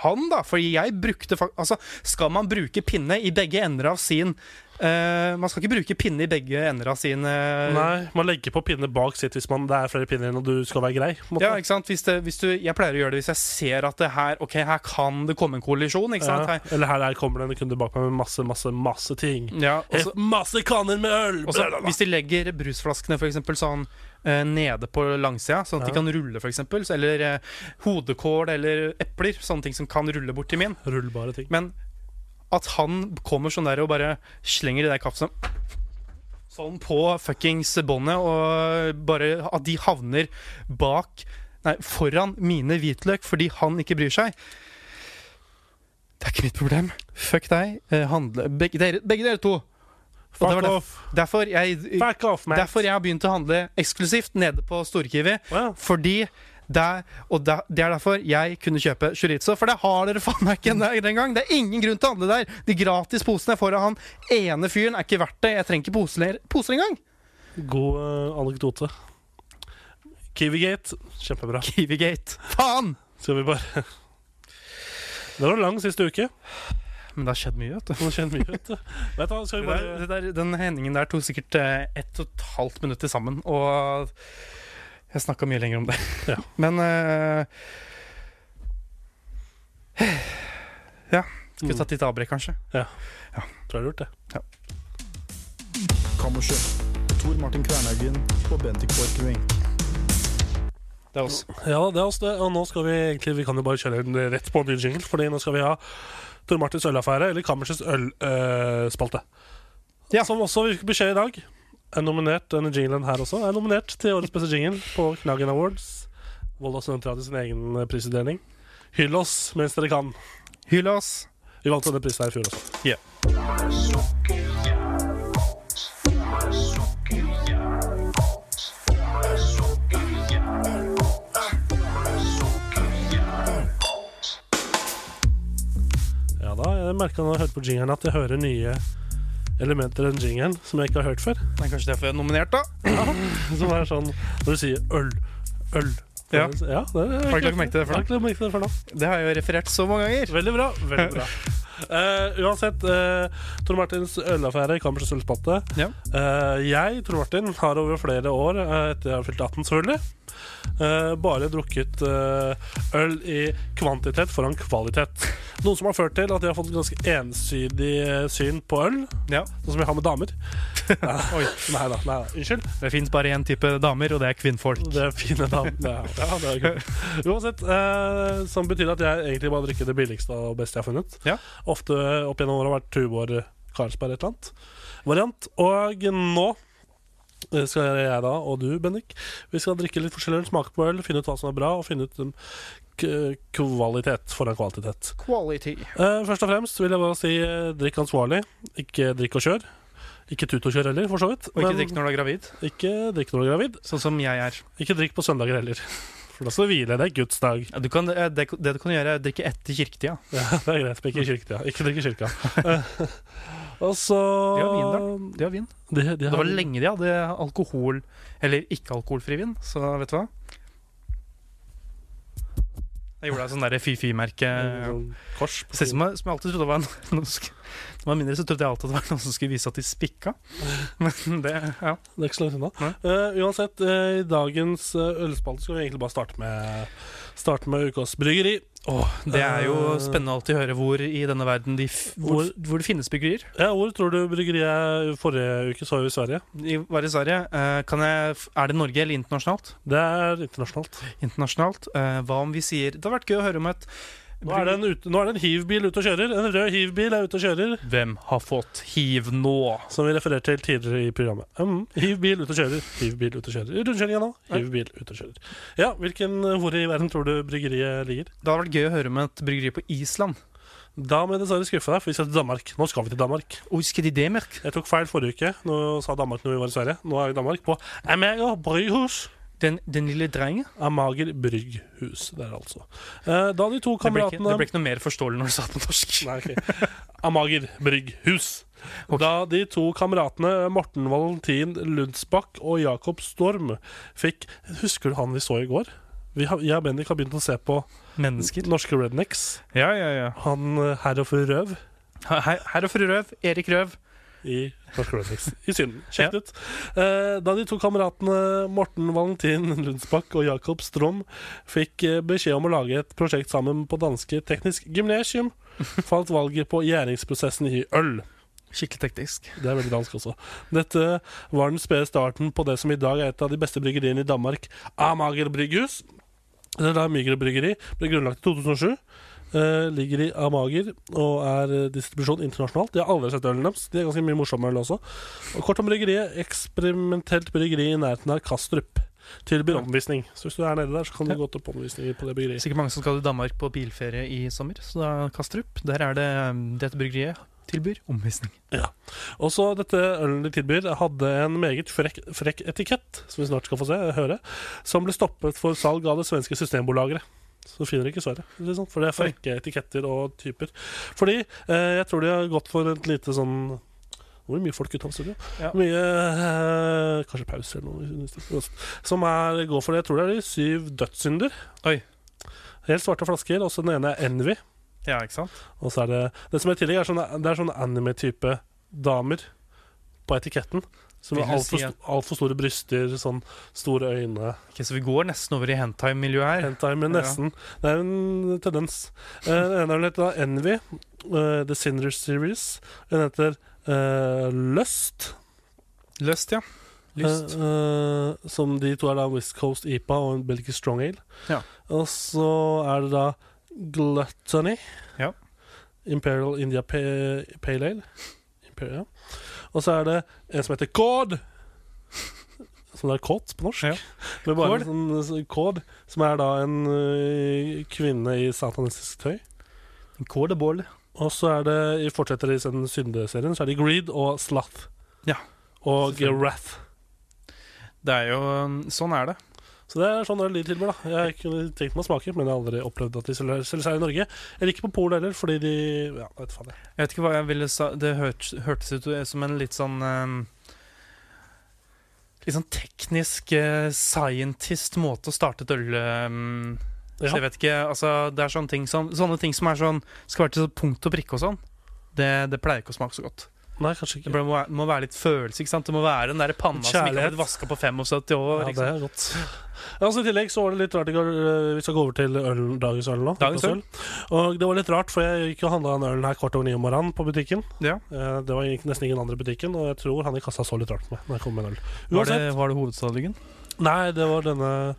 Speaker 3: han, da. Fordi jeg brukte fak- Altså, skal man bruke pinne i begge ender av sin eh, Man skal ikke bruke pinne i begge ender av sin eh,
Speaker 2: Nei, man legger på pinner bak sitt hvis man, det er flere pinner igjen og du skal være grei. på en måte.
Speaker 3: Ja, ikke sant? Hvis det, hvis du, jeg pleier å gjøre det hvis jeg ser at det her Ok, her kan det komme en kollisjon. Ikke sant?
Speaker 2: Ja,
Speaker 3: Her,
Speaker 2: Eller her, her kommer det en kunde bak meg med masse, masse, masse ting.
Speaker 3: ja, og så-
Speaker 2: Helt masse kanner med øl!
Speaker 3: og så
Speaker 2: blablabla.
Speaker 3: hvis de legger brusflaskene for eksempel, sånn eh, nede på langsida, sånn at de
Speaker 2: Ja.
Speaker 3: kan rulle, for eksempel, så- eller eh, hodekål eller epler, sånne ting som kan rulle bort til min
Speaker 2: Rullbare ting.
Speaker 3: Men at han kommer sånn der og bare slenger de der kapslene sånn på fuckings båndet, og bare at de havner bak Nei, foran mine hvitløk fordi han ikke bryr seg. Det er ikke mitt problem. Fuck deg. Eh, handle Begge dere, begge dere to. det var
Speaker 2: Fuck
Speaker 3: det.
Speaker 2: off!
Speaker 3: Derfor jeg,
Speaker 2: Fuck off, man!
Speaker 3: derfor jeg har begynt å handle eksklusivt nede på Storkiwi.
Speaker 2: Wow.
Speaker 3: Fordi der, og der, Det er derfor jeg kunne kjøpe chorizo, for det har dere faen meg ikke den den gang. Det er ingen grunn til å handle der. De gratis posene jeg får av han ene fyren, er ikke verdt det. Jeg trenger ikke poser, poser engang.
Speaker 2: God eh, anekdote. Kiwigate. Kjempebra.
Speaker 3: Kiwigate. Faen!
Speaker 2: Skal vi bare Det var lang siste uke.
Speaker 3: Men det har skjedd mye, vet du.
Speaker 2: Nå kjenner vi ut. Vet du hva, skal vi
Speaker 3: Det
Speaker 2: bare
Speaker 3: der, det der, den hendingen der tok sikkert eh, ett og et halvt minutt til sammen, og jeg snakka mye lenger om det.
Speaker 2: Ja.
Speaker 3: Men eh, Ja. Skulle tatt litt avbrekk, kanskje.
Speaker 2: Tror jeg har gjort det.
Speaker 5: Kammerset. Tor Martin Kvernhaugen og Bendik Borchgrevink.
Speaker 3: Det er oss.
Speaker 2: Ja, det er oss det. Og nå skal vi egentlig Vi kan jo bare kjøre en rett på en ny jingle, Fordi nå skal vi ha Tor Martins ølaffære, eller Kammersets ølspalte.
Speaker 3: Ja.
Speaker 2: Som også fikk beskjed i dag. Er nominert, Denne jinglen her også er nominert til årets beste jingle på Knaggen Awards. Volda Studentradioen sin egen eh, prisutdeling. Hyll oss mens dere kan.
Speaker 3: Hyll oss.
Speaker 2: Vi vant denne prisen her i fjor også. Ja da, jeg merka når jeg hørte på jingelen at jeg hører nye elementer i den jingelen som jeg ikke har hørt før.
Speaker 3: Det er kanskje derfor jeg er nominert, da.
Speaker 2: Som er sånn når du sier øl, øl.
Speaker 3: Ja.
Speaker 2: ja det er,
Speaker 3: Har du ikke lagt merke til det før nå?
Speaker 2: Jeg har ikke lagt merke til det før nå.
Speaker 3: Det har jeg jo referert så mange ganger.
Speaker 2: Veldig bra. veldig bra Eh, Uansett, eh, Tor Martins ølaffære i Kammersets ølspatte.
Speaker 3: Ja.
Speaker 2: Eh, jeg, Tor Martin, har over flere år, eh, etter jeg har fylt 18 selvfølgelig, eh, bare drukket eh, øl i kvantitet foran kvalitet. Noe som har ført til at jeg har fått et ganske ensidig eh, syn på øl,
Speaker 3: Ja.
Speaker 2: sånn som jeg har med damer.
Speaker 3: Oi.
Speaker 2: Nei da, nei da. Unnskyld.
Speaker 3: Det fins bare én type damer, og det er kvinnfolk.
Speaker 2: Det er fine navn. Ja, ja, det er kult. Uansett, eh, som betyr at jeg egentlig bare drikker det billigste og beste jeg har funnet.
Speaker 3: Ja.
Speaker 2: Ofte opp gjennom åra vært Tuborg, Karlsberg, et eller annet variant. Og nå eh, skal jeg da, og du, Bendik, vi skal drikke litt forskjellig øl, smake på øl, finne ut hva som er bra, og finne ut um, k- kvalitet foran kvantitet.
Speaker 3: Quality.
Speaker 2: Eh, først og fremst vil jeg bare si eh, drikk ansvarlig, ikke drikk og kjør. Ikke tut og kjør heller, for så vidt.
Speaker 3: Og ikke
Speaker 2: Men
Speaker 3: drikk når du er gravid,
Speaker 2: ikke drikk når du er gravid.
Speaker 3: sånn som jeg er.
Speaker 2: Ikke drikk på søndager heller. For da skal du hvile. Det er Guds dag.
Speaker 3: Ja, du kan, eh, det, det du kan gjøre, er å drikke etter kirketida.
Speaker 2: Ja, det er greit. men Ikke i kirketida. Ikke drikk i kirka. Eh, Og så
Speaker 3: De har vin, Det, er vin.
Speaker 2: De, de
Speaker 3: det
Speaker 2: har-
Speaker 3: var lenge de hadde alkohol, eller ikke-alkoholfri vin, så vet du hva? Jeg gjorde deg sånn derre fy-fy-merke.
Speaker 2: Sånn Kors. på
Speaker 3: Ser ut som jeg, som jeg alltid trodde det var en- noen som skulle- Når jeg var mindre, så trodde jeg alltid at det var noen som skulle vise at de spikka. Men det, ja.
Speaker 2: Det er ikke så langt unna. Eh, uansett, eh, i dagens eh, ølspalte skal vi egentlig bare starte med Starte med ukas bryggeri.
Speaker 3: det er jo
Speaker 2: Eh,
Speaker 3: spennende alltid å høre hvor i denne verden de f hvor, hvor det finnes bryggerier.
Speaker 2: Ja, hvor tror du bryggeriet forrige uke så jo i Sverige?
Speaker 3: I, var i Sverige. Eh, kan jeg, f- er det Norge eller internasjonalt?
Speaker 2: Det er internasjonalt.
Speaker 3: Internasjonalt. Eh, hva om vi sier Det har vært gøy å høre om et
Speaker 2: Nå er det en, ut- nå er det en hiv-bil ute og kjører. En rød hiv-bil er ute og kjører.
Speaker 3: Hvem har fått hiv nå?
Speaker 2: Som vi refererte til tidligere i programmet. Mm. Hiv bil ut og kjører. Hiv bil ut og kjører. I Rundkjøringa nå. Hiv bil ut og kjører. Ja, hvilken, eh, Hvor i verden tror du bryggeriet ligger?
Speaker 3: Det har vært gøy å høre om et bryggeri på Island.
Speaker 2: Da må jeg dessverre skuffe deg, for vi skal til Danmark. Nå skal vi til Danmark.
Speaker 3: Husker de det, Merk?
Speaker 2: Jeg tok feil forrige uke. Nå sa Danmark når vi var i Sverige. Nå er vi i Danmark på Amager Bryghus.
Speaker 3: Den, den lille drengen?
Speaker 2: Amager Brygghus, det er det altså. Eh, Da de to
Speaker 3: Det ble, ikke, det
Speaker 2: kameratene
Speaker 3: ble ikke noe mer forståelig når du sa det på norsk.
Speaker 2: Nei, ok. Amager Brygghus. Da de to kameratene Morten Valentin Lundsbakk og Jakob Storm fikk Husker du han vi så i går? Vi har, jeg og Bendik har begynt å se på
Speaker 3: Mennesker.
Speaker 2: norske rednecks.
Speaker 3: Ja, ja, ja.
Speaker 2: Han eh, herr og fru Røv
Speaker 3: Her, her og fru Røv. Erik Røv.
Speaker 2: i norske rednecks i Syden. Sjekk det ut. Eh, Da de to kameratene Morten Valentin Lundsbakk og Jakob Strom fikk eh, beskjed om å lage et prosjekt sammen på danske Teknisk Gymnasium, falt valget på gjæringsprosessen i øl.
Speaker 3: Skikkelig teknisk.
Speaker 2: Det er veldig dansk også. Dette var den spede starten på det som i dag er et av de beste bryggeriene i Danmark, Amager Brygghus. Eller da Mygre bryggeri ble grunnlagt i 2007. eh, ligger i Amager og er eh, distribusjon internasjonalt. De har aldri sett ølen deres. De er ganske mye morsomme øl også. Og kort om bryggeriet. Eksperimentelt bryggeri i nærheten av Kastrup. Tilbyr omvisning. Så hvis du er nede der, så kan du
Speaker 3: Ja.
Speaker 2: gå til omvisninger på det bryggeriet.
Speaker 3: Sikkert mange som skal til Danmark på bilferie i sommer, så da Kastrup. Der er det um, dette bryggeriet tilbyr omvisning.
Speaker 2: Også dette ølen de tilbyr, hadde en meget frekk, frekk etikett, som vi snart skal få se, høre, som ble stoppet for salg av det svenske systembolageret. Så du finner ikke svaret. Liksom, for det er frekke etiketter og typer. Fordi eh, jeg tror de har gått for et lite sånn hvor mye folk utenfor studio?
Speaker 3: Ja.
Speaker 2: Mye eh, Kanskje pause eller noe. Som er, går for det. Jeg tror det er de syv dødssynder.
Speaker 3: Oi.
Speaker 2: Helt svarte flasker. Og så den ene er Envy.
Speaker 3: Ja, ikke sant?
Speaker 2: Og så er det Det som er i tillegg, er sånne, det er sånne anime-type damer på etiketten. Som
Speaker 3: Vil
Speaker 2: har
Speaker 3: du
Speaker 2: altfor
Speaker 3: si
Speaker 2: st
Speaker 3: at-
Speaker 2: alt for store bryster, sånn store øyne
Speaker 3: Ok, så vi går nesten over i hentai-miljøet her.
Speaker 2: Hentai, men
Speaker 3: Ja.
Speaker 2: nesten. Det er en tendens. Eh, Den ene er heter da Envy, eh, The Sinner Series. Den heter eh, Lust.
Speaker 3: Løst, ja. Lyst.
Speaker 2: Eh, eh, som de to er da West Coast IPA og en Belgisk Strong Ale.
Speaker 3: Ja.
Speaker 2: Og så er det da Gluttony.
Speaker 3: Ja.
Speaker 2: Imperial India Pa- Pale Ale. Imperial. Og så er det en som heter Kord. Som det er kåt på norsk.
Speaker 3: Ja.
Speaker 2: Med bare
Speaker 3: Kord.
Speaker 2: en sånn Kord, som er da en eh, kvinne i satanistisk tøy.
Speaker 3: Kål og bål.
Speaker 2: Og så er det, fortsetter i den syndeserien, så er det Greed og Sloth.
Speaker 3: Ja.
Speaker 2: Og
Speaker 3: Selvfølgelig.
Speaker 2: Wrath.
Speaker 3: Det er jo Sånn er det.
Speaker 2: Så det er sånn øl de tilbyr, da. Jeg kunne tenkt meg å smake, men jeg har aldri opplevd at de selger selger seg i Norge. Eller ikke på Polet heller, fordi de Ja, jeg vet faen jeg.
Speaker 3: Jeg vet ikke hva jeg ville sa Det hørtes hørtes ut som en litt sånn ehm, Litt sånn teknisk eh, scientist måte å starte et øl ehm, Så jeg
Speaker 2: Ja.
Speaker 3: vet ikke Altså, det er sånne ting som Sånne ting som er sånn Skal være til sånn punkt og prikke og sånn. Det, det pleier ikke å smake så godt.
Speaker 2: Nei, kanskje
Speaker 3: Det
Speaker 2: ikke.
Speaker 3: må være, må være litt følelse. ikke sant? Det må være den der panna som ikke har
Speaker 2: Kjærlighet.
Speaker 3: blitt vaska på 75 år.
Speaker 2: Ja, det
Speaker 3: ikke sant?
Speaker 2: er godt. Ja, altså, I tillegg så var det litt rart i går eh, Vi skal gå over til øl, dagens øl nå.
Speaker 3: Dagens øl.
Speaker 2: Og det var litt rart, for jeg gikk og handla den ølen her kvart over ni om morgenen på butikken.
Speaker 3: Ja.
Speaker 2: Eh, Det var ikke- nesten ingen andre i butikken, og jeg tror han i kassa så litt rart på meg når jeg kom med en øl.
Speaker 3: Var, det, var det hovedstadlyggen?
Speaker 2: Nei, det var denne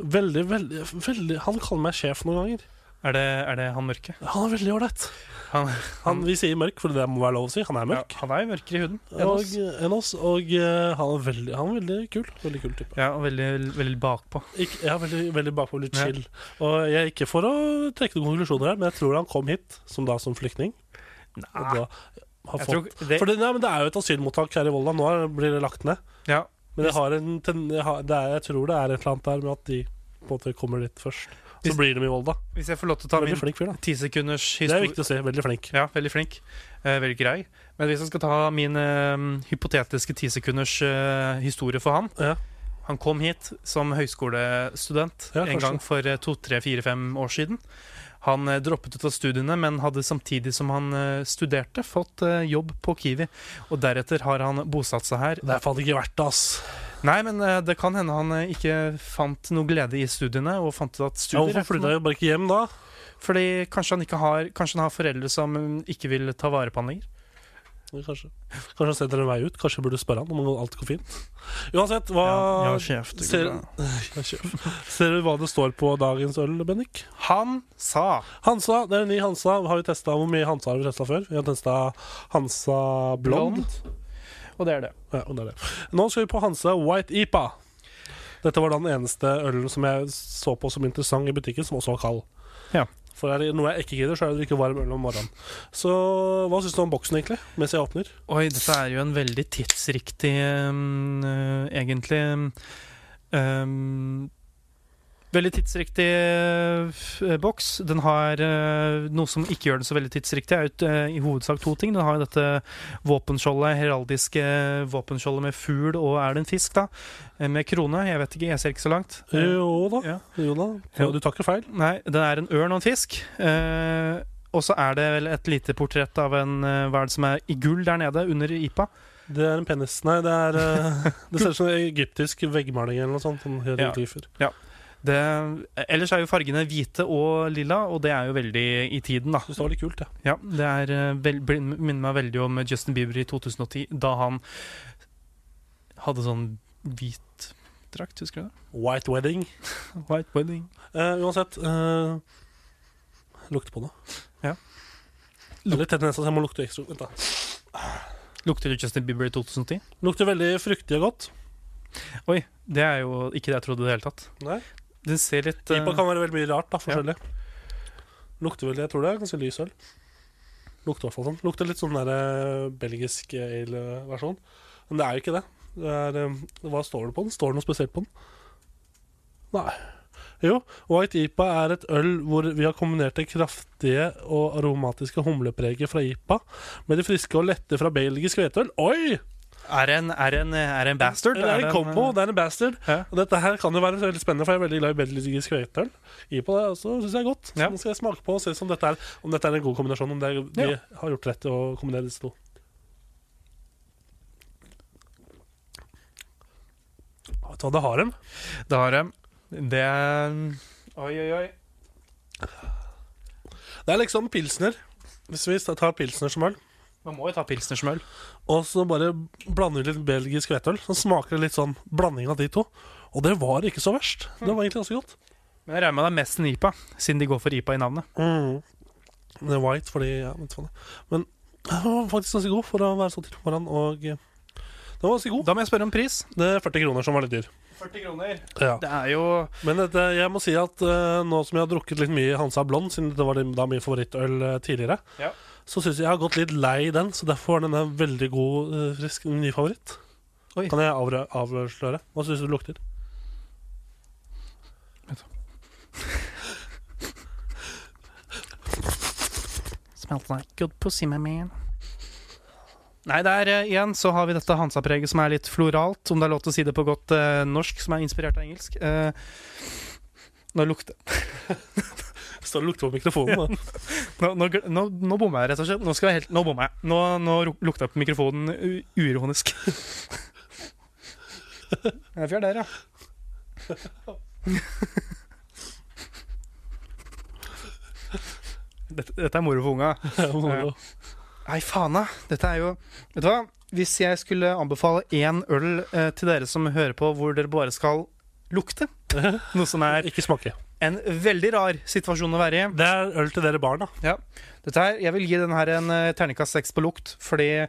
Speaker 2: Veldig, veldig, veldig Han kaller meg sjef noen ganger.
Speaker 3: Er det, er det han mørke?
Speaker 2: Han er veldig ålreit.
Speaker 3: Han-
Speaker 2: Han- Vi sier mørk, for det må være lov å si. Han er mørk.
Speaker 3: Ja, han er jo mørkere i huden. enn
Speaker 2: Og,
Speaker 3: oss.
Speaker 2: enn oss, og eh, han er veldig, han er veldig kul. Veldig kul type.
Speaker 3: Ja, og veldig, veldig bakpå.
Speaker 2: Ikke, ja, veldig, veldig bakpå, litt
Speaker 3: Ja.
Speaker 2: chill. Og jeg er ikke for å trekke noen konklusjoner her, men jeg tror han kom hit som da som flyktning. Og da har fått,
Speaker 3: Jeg tror det,
Speaker 2: for det, nei, men det er jo et asylmottak her i Volda. Nå er- blir det lagt ned.
Speaker 3: ja,
Speaker 2: Men jeg, har en, ten- jeg, har, det er, jeg tror det er et eller annet der med at de på en måte kommer dit først. Så
Speaker 3: Hvis-
Speaker 2: blir de i Volda.
Speaker 3: Hvis jeg får lov til å ta
Speaker 2: Veldig
Speaker 3: min
Speaker 2: flink fyr, da.
Speaker 3: tisekunders
Speaker 2: Det er
Speaker 3: historie
Speaker 2: viktig å se. Veldig flink.
Speaker 3: Ja, veldig flink. Eh, veldig grei. Men hvis jeg skal ta min eh, hypotetiske tisekunders eh, historie for han
Speaker 2: Ja.
Speaker 3: Han kom hit som høyskolestudent
Speaker 2: Ja,
Speaker 3: en
Speaker 2: kanskje.
Speaker 3: gang for eh, to, tre, fire, fem år siden. Han eh, droppet ut av studiene, men hadde samtidig som han eh, studerte, fått eh, jobb på Kiwi. Og deretter har han bosatt seg her.
Speaker 2: Det er faen ikke verdt det, ass.
Speaker 3: Nei, men eh, det kan hende han eh, ikke fant noe glede i studiene, og fant ut at
Speaker 2: Ja,
Speaker 3: studier er
Speaker 2: hvorfor
Speaker 3: ikke noe-
Speaker 2: flytta jeg bare ikke hjem da?
Speaker 3: Fordi kanskje han, ikke har, kanskje han har foreldre som mm, ikke vil ta vare på han lenger.
Speaker 2: Kanskje Kanskje han setter en vei ut? Kanskje jeg burde spørre han om alt går fint? Uansett, hva
Speaker 3: sjef,
Speaker 2: det går ser- Ja, sjef. Ser du hva det står på dagens øl, Bennik?
Speaker 3: Han sa
Speaker 2: Hansa, det er en ny Hansa. Har vi testet, Hvor mye Hansa har vi testa før? Vi har testa Hansa Blond.
Speaker 3: Og det er det.
Speaker 2: Ja, og det er det. Nå skal vi på Hansa White IPA. Dette var da den eneste ølen som jeg så på som interessant i butikken, som også var kald.
Speaker 3: Ja.
Speaker 2: For er det noe jeg ikke gidder, så er det å drikke varm øl om morgenen. Så hva syns du om boksen, egentlig? Mens jeg åpner.
Speaker 3: Oi, dette er jo en veldig tidsriktig um, øh, Egentlig um, Veldig tidsriktig øh, f- øh, boks. Den har øh, noe som ikke gjør den så veldig tidsriktig. er jo et, øh, i hovedsak to ting. Den har jo dette våpenskjoldet, heraldiske våpenskjoldet med fugl, og er det en fisk, da? Eh, Med krone. Jeg vet ikke, jeg ser ikke så langt.
Speaker 2: Eh, Jo da.
Speaker 3: Ja.
Speaker 2: Jo da.
Speaker 3: Ja.
Speaker 2: Du tar ikke feil.
Speaker 3: Nei, den er en ørn og en fisk. Eh, og så er det vel et lite portrett av en eh, hva er det som er i gull der nede, under IPA.
Speaker 2: Det er en penis. Nei, det er eh, Det ser ut som en egyptisk veggmaling eller noe sånt. Sånn hieroglyfer.
Speaker 3: Det, ellers er jo fargene hvite og lilla, og det er jo veldig i tiden, da.
Speaker 2: Synes det var litt kult, jeg.
Speaker 3: Ja, det er, eh, vel, bli- minner meg veldig om Justin Bieber i 2010, da han hadde sånn hvit drakt, husker du det?
Speaker 2: White wedding.
Speaker 3: White wedding.
Speaker 2: Eh, uansett eh, Lukte på noe.
Speaker 3: Ja.
Speaker 2: Eller tett nesa, så jeg må lukte ekstra. Vent, da.
Speaker 3: Lukter det Justin Bieber i 2010?
Speaker 2: Lukter veldig fruktig og godt.
Speaker 3: Oi, det er jo ikke det jeg trodde i det hele tatt.
Speaker 2: Nei.
Speaker 3: Den ser litt eh,
Speaker 2: IPA kan være veldig mye rart. da, forskjellig Lukter vel, Jeg tror det er ganske lys øl. Lukter i hvert fall sånn. Lukter litt sånn der, eh, belgisk ale-versjon. Men det er jo ikke det. det er, eh, hva står det på den? Står det noe spesielt på den? Nei. Jo, White IPA er et øl hvor vi har kombinert det kraftige og aromatiske humlepreget fra IPA med det friske og lette fra belgisk hvetøl. Oi!
Speaker 3: Er det en, er det en, er det en bastard?
Speaker 2: Det er en eh, combo, det er en bastard.
Speaker 3: Ja.
Speaker 2: Og dette her kan jo være veldig spennende, for jeg er veldig glad i belgisk hvetøl. Gi på det, og så syns jeg det er godt. Så
Speaker 3: Ja.
Speaker 2: nå skal jeg smake på og se om dette er, om dette er en god kombinasjon. Om det er, de har gjort rett i å kombinere disse to. Vet du hva, det har en.
Speaker 3: Det har jeg. Det er Oi, oi, oi.
Speaker 2: Det er liksom pilsner. Hvis vi tar pilsner som øl.
Speaker 3: Man må jo ta pilsnersmøl.
Speaker 2: Og så bare blander vi litt belgisk hvetøl. Så smaker det litt sånn blanding av de to. Og det var ikke så verst. Det var egentlig ganske godt.
Speaker 3: Men jeg regner med det er mest en IPA, siden de går for IPA i navnet.
Speaker 2: Mm. Det er white fordi ja, vet faen jeg. Men den var faktisk ganske god for å være så tidlig på morgenen. Og eh, den var ganske god.
Speaker 3: Da må jeg spørre om pris.
Speaker 2: Det er 40 kroner som var litt dyr.
Speaker 3: 40 kroner.
Speaker 2: Ja.
Speaker 3: Det er jo
Speaker 2: Men dette, jeg må si at eh, nå som jeg har drukket litt mye Hansa Blond, siden det var det- da min favorittøl eh, tidligere,
Speaker 3: Ja.
Speaker 2: så syns jeg jeg har gått litt lei den, så derfor er den en veldig god, eh, frisk ny favoritt.
Speaker 3: Oi.
Speaker 2: Kan jeg avre- avsløre? Hva syns du det lukter?
Speaker 3: Smells like good pussy, my man. Nei, der eh, igjen så har vi dette Hansa-preget som er litt floralt, om det er lov til å si det på godt eh, norsk, som er inspirert av engelsk. Eh, nå lukter
Speaker 2: Står og lukter på mikrofonen. da.
Speaker 3: Nå, nå, gl- nå, nå bomma jeg, rett og slett. Nå, skal jeg helt, nå bomma jeg. Nå, nå ru- lukta jeg på mikrofonen u- uironisk. Jeg er fjær der, ja. Dette, dette er moro for unga.
Speaker 2: Moro.
Speaker 3: Nei, faen da. Dette er jo Vet du hva? Hvis jeg skulle anbefale én øl eh, til dere som hører på, hvor dere bare skal lukte, noe som er
Speaker 2: Ikke smake.
Speaker 3: en veldig rar situasjon å være i
Speaker 2: Det er øl til dere barn, da.
Speaker 3: Dette her, Jeg vil gi den her en eh, terningkast seks på lukt, fordi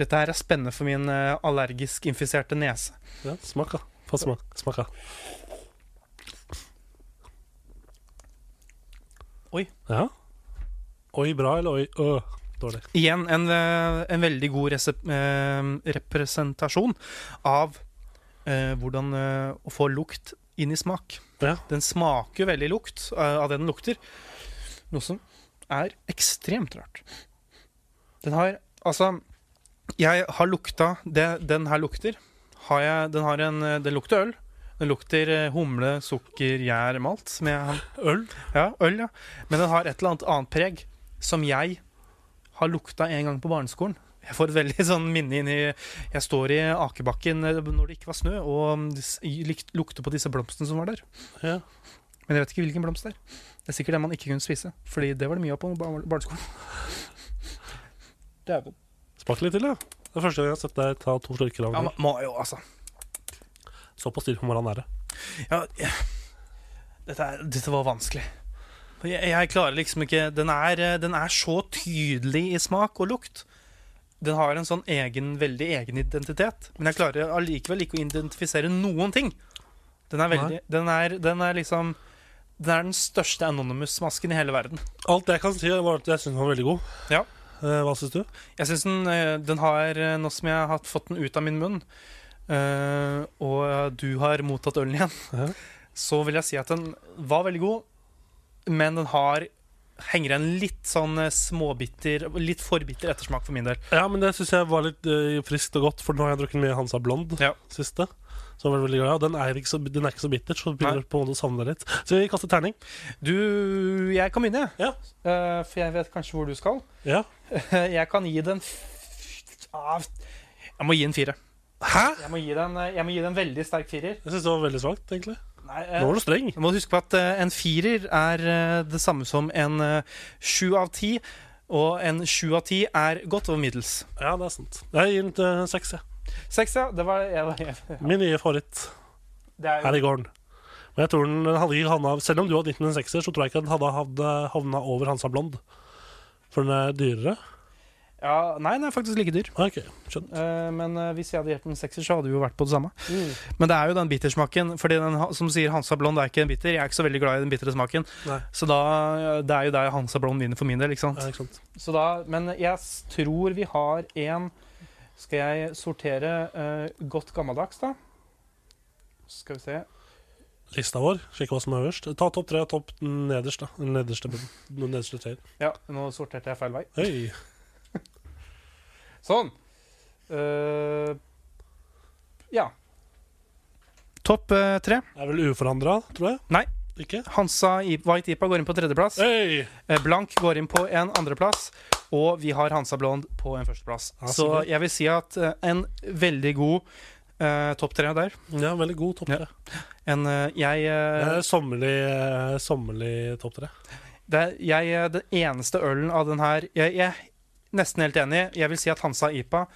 Speaker 3: dette her er spennende for min eh, allergisk infiserte nese.
Speaker 2: Ja, smak, da. Få smak. smak da.
Speaker 3: Oi.
Speaker 2: Ja. Oi bra, eller oi øh, dårlig?
Speaker 3: Igjen en, eh, en veldig god resep eh, representasjon av eh, hvordan eh, å få lukt inn i smak.
Speaker 2: Ja.
Speaker 3: Den smaker jo veldig lukt eh, av det den lukter, noe som er ekstremt rart. Den har Altså, jeg har lukta det den her lukter. Har jeg, den, har en, eh, den lukter øl. Den lukter eh, humle, sukker, gjær, malt. Som jeg har
Speaker 2: Øl?
Speaker 3: Ja, øl, ja. Men den har et eller annet annet preg som jeg har lukta en gang på barneskolen. Jeg får et veldig sånn minne inn i Jeg står i akebakken eh, når det ikke var snø, og mm, s- likt- lukter på disse blomstene som var der.
Speaker 2: Ja.
Speaker 3: Men jeg vet ikke hvilken blomst det er. Det er sikkert den man ikke kunne spise, Fordi det var det mye av på bar- barneskolen. Dæven.
Speaker 2: Smak litt til, ja. Det er første gang jeg har sett deg ta to slurker av
Speaker 3: Ja,
Speaker 2: en
Speaker 3: man må jo, altså.
Speaker 2: øl. Såpass tidlig på morgenen er det.
Speaker 3: Ja, ja. Dette, er, dette var vanskelig. For Jeg, jeg klarer liksom ikke den er, eh, den er så tydelig i smak og lukt. Den har en sånn egen, veldig egen identitet. Men jeg klarer allikevel ikke å identifisere noen ting. Den er veldig den er, den er liksom Den er den største anonymous-masken i hele verden.
Speaker 2: Alt jeg kan si, var at jeg syns den var veldig god.
Speaker 3: Ja.
Speaker 2: Eh, hva syns du?
Speaker 3: Jeg syns den, eh, den har eh, Nå som jeg har hatt- fått den ut av min munn, eh, og du har mottatt ølen igjen,
Speaker 2: Ja.
Speaker 3: så vil jeg si at den var veldig god, men den har henger en litt sånn eh, småbitter, litt for bitter ettersmak for min del.
Speaker 2: Ja, men det syns jeg var litt eh, friskt og godt, for nå har jeg drukket mye Hansa Blond
Speaker 3: Ja.
Speaker 2: siste. Så jeg var veldig glad. i, Og den er ikke så, den er ikke så bitter, så begynner du på en måte å savne det litt. Så vi kaster terning.
Speaker 3: Du, jeg kan begynne, jeg.
Speaker 2: Ja.
Speaker 3: Eh, for jeg vet kanskje hvor du skal.
Speaker 2: Ja.
Speaker 3: Jeg kan gi den f- ah, Jeg må gi den fire.
Speaker 2: Hæ?
Speaker 3: Jeg må gi den, eh, jeg må gi den veldig sterk firer.
Speaker 2: Jeg syns det var veldig svakt, egentlig.
Speaker 3: Nei, eh,
Speaker 2: Nå var du streng.
Speaker 3: Du må huske på at eh, en firer er eh, det samme som en eh, sju av ti. Og en sju av ti er godt over middels.
Speaker 2: Ja, det er sant. Jeg gir den til seks, jeg.
Speaker 3: Seks, ja. Det var jeg, jeg,
Speaker 2: Min nye favoritt
Speaker 3: det er
Speaker 2: her
Speaker 3: jo,
Speaker 2: i gården. Men jeg tror den hadde ikke havna, Selv om du hadde gitt den en sekser, så tror jeg ikke den hadde havna- havna over Hansa Blond. For den er dyrere.
Speaker 3: ja, Nei, den er faktisk like dyr.
Speaker 2: Ok, skjønner.
Speaker 3: Eh, men eh, hvis jeg hadde gjort en sekser, så hadde vi jo vært på det samme. Men det er jo den bittersmaken. Fordi den ha- som sier Hansa Blond er ikke en bitter. Jeg er ikke så veldig glad i den bitre smaken.
Speaker 2: Nei.
Speaker 3: Så da, eh, det er jo der Hansa Blond vinner for min del. ikke sant?
Speaker 2: Ja, ikke sant.
Speaker 3: Så da, men jeg s- tror vi har en Skal jeg sortere eh, godt gammeldags, da? Skal vi se.
Speaker 2: Lista vår. Sjekk hva som er øverst. Ta topp tre og topp nederst, da. Den nederste, den nederste treer.
Speaker 3: Ja, nå sorterte jeg feil vei.
Speaker 2: Hei.
Speaker 3: Sånn. Eh, ja. Topp eh, tre.
Speaker 2: Er vel uforandra, tror jeg?
Speaker 3: Nei.
Speaker 2: Ikke?
Speaker 3: Hansa I- White Ipa går inn på tredjeplass.
Speaker 2: Hei!
Speaker 3: Eh, Blank går inn på en andreplass. Og vi har Hansa Blond på en førsteplass.
Speaker 2: Ja,
Speaker 3: Så
Speaker 2: så bra.
Speaker 3: jeg vil si at eh, en veldig god eh, topp tre der.
Speaker 2: Ja, veldig god topp
Speaker 3: Ja.
Speaker 2: tre.
Speaker 3: En, eh, jeg,
Speaker 2: Det
Speaker 3: eh,
Speaker 2: er sommerlig, eh, sommerlig topp tre.
Speaker 3: det, er- jeg eh, Den eneste ølen av den her jeg, jeg, Nesten helt enig. Jeg vil si at Hansa IPA,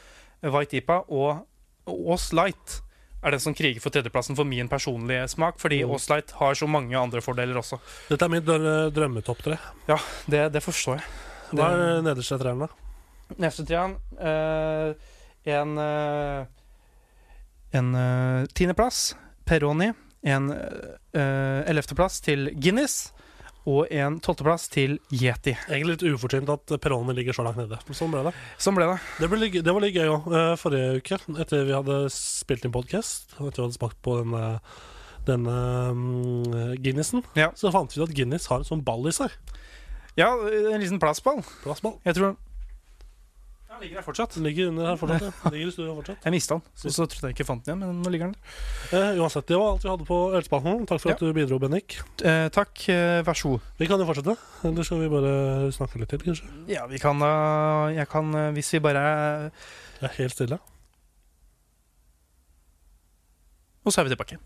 Speaker 3: White IPA og Aas Light er den som kriger for tredjeplassen for min personlige smak, fordi
Speaker 2: Mm.
Speaker 3: Aas Light har så mange andre fordeler også.
Speaker 2: Dette er mitt drø- drømmetopp tre.
Speaker 3: Ja, det, det forstår jeg.
Speaker 2: Hva er nederste treeren, da?
Speaker 3: Neste trian eh, En eh, En eh, tiendeplass Peroni En eh, ellevteplass til Guinness Og en tolvteplass til Yeti
Speaker 2: Egentlig litt ufortjent at Peroni ligger så langt nede. Men sånn ble det.
Speaker 3: Sånn ble det
Speaker 2: Det, ble, litt- det var litt gøy òg. Forrige uke, etter vi hadde spilt inn podkast, etter vi hadde smakt på denne, denne mm, Guinnessen,
Speaker 3: Ja.
Speaker 2: så fant vi ut at Guinness har en sånn ball i seg.
Speaker 3: Ja, en liten plassball
Speaker 2: Plastball.
Speaker 3: Jeg tror Den ligger der fortsatt
Speaker 2: Den ligger under her fortsatt. Ja. Ligger i studio fortsatt.
Speaker 3: Jeg mistet den Så, så trodde jeg ikke jeg fant den igjen Men nå ligger den der
Speaker 2: Eh, uansett, det var alt vi hadde på Ølspalten. Takk for at du bidro, Bennik.
Speaker 3: Eh, Takk, eh, vær så god
Speaker 2: Vi kan jo fortsette, eller skal vi bare snakke litt til, kanskje?
Speaker 3: Ja, vi kan da Jeg kan, eh, hvis vi bare er-
Speaker 2: Jeg er helt stille.
Speaker 3: Og så er vi tilbake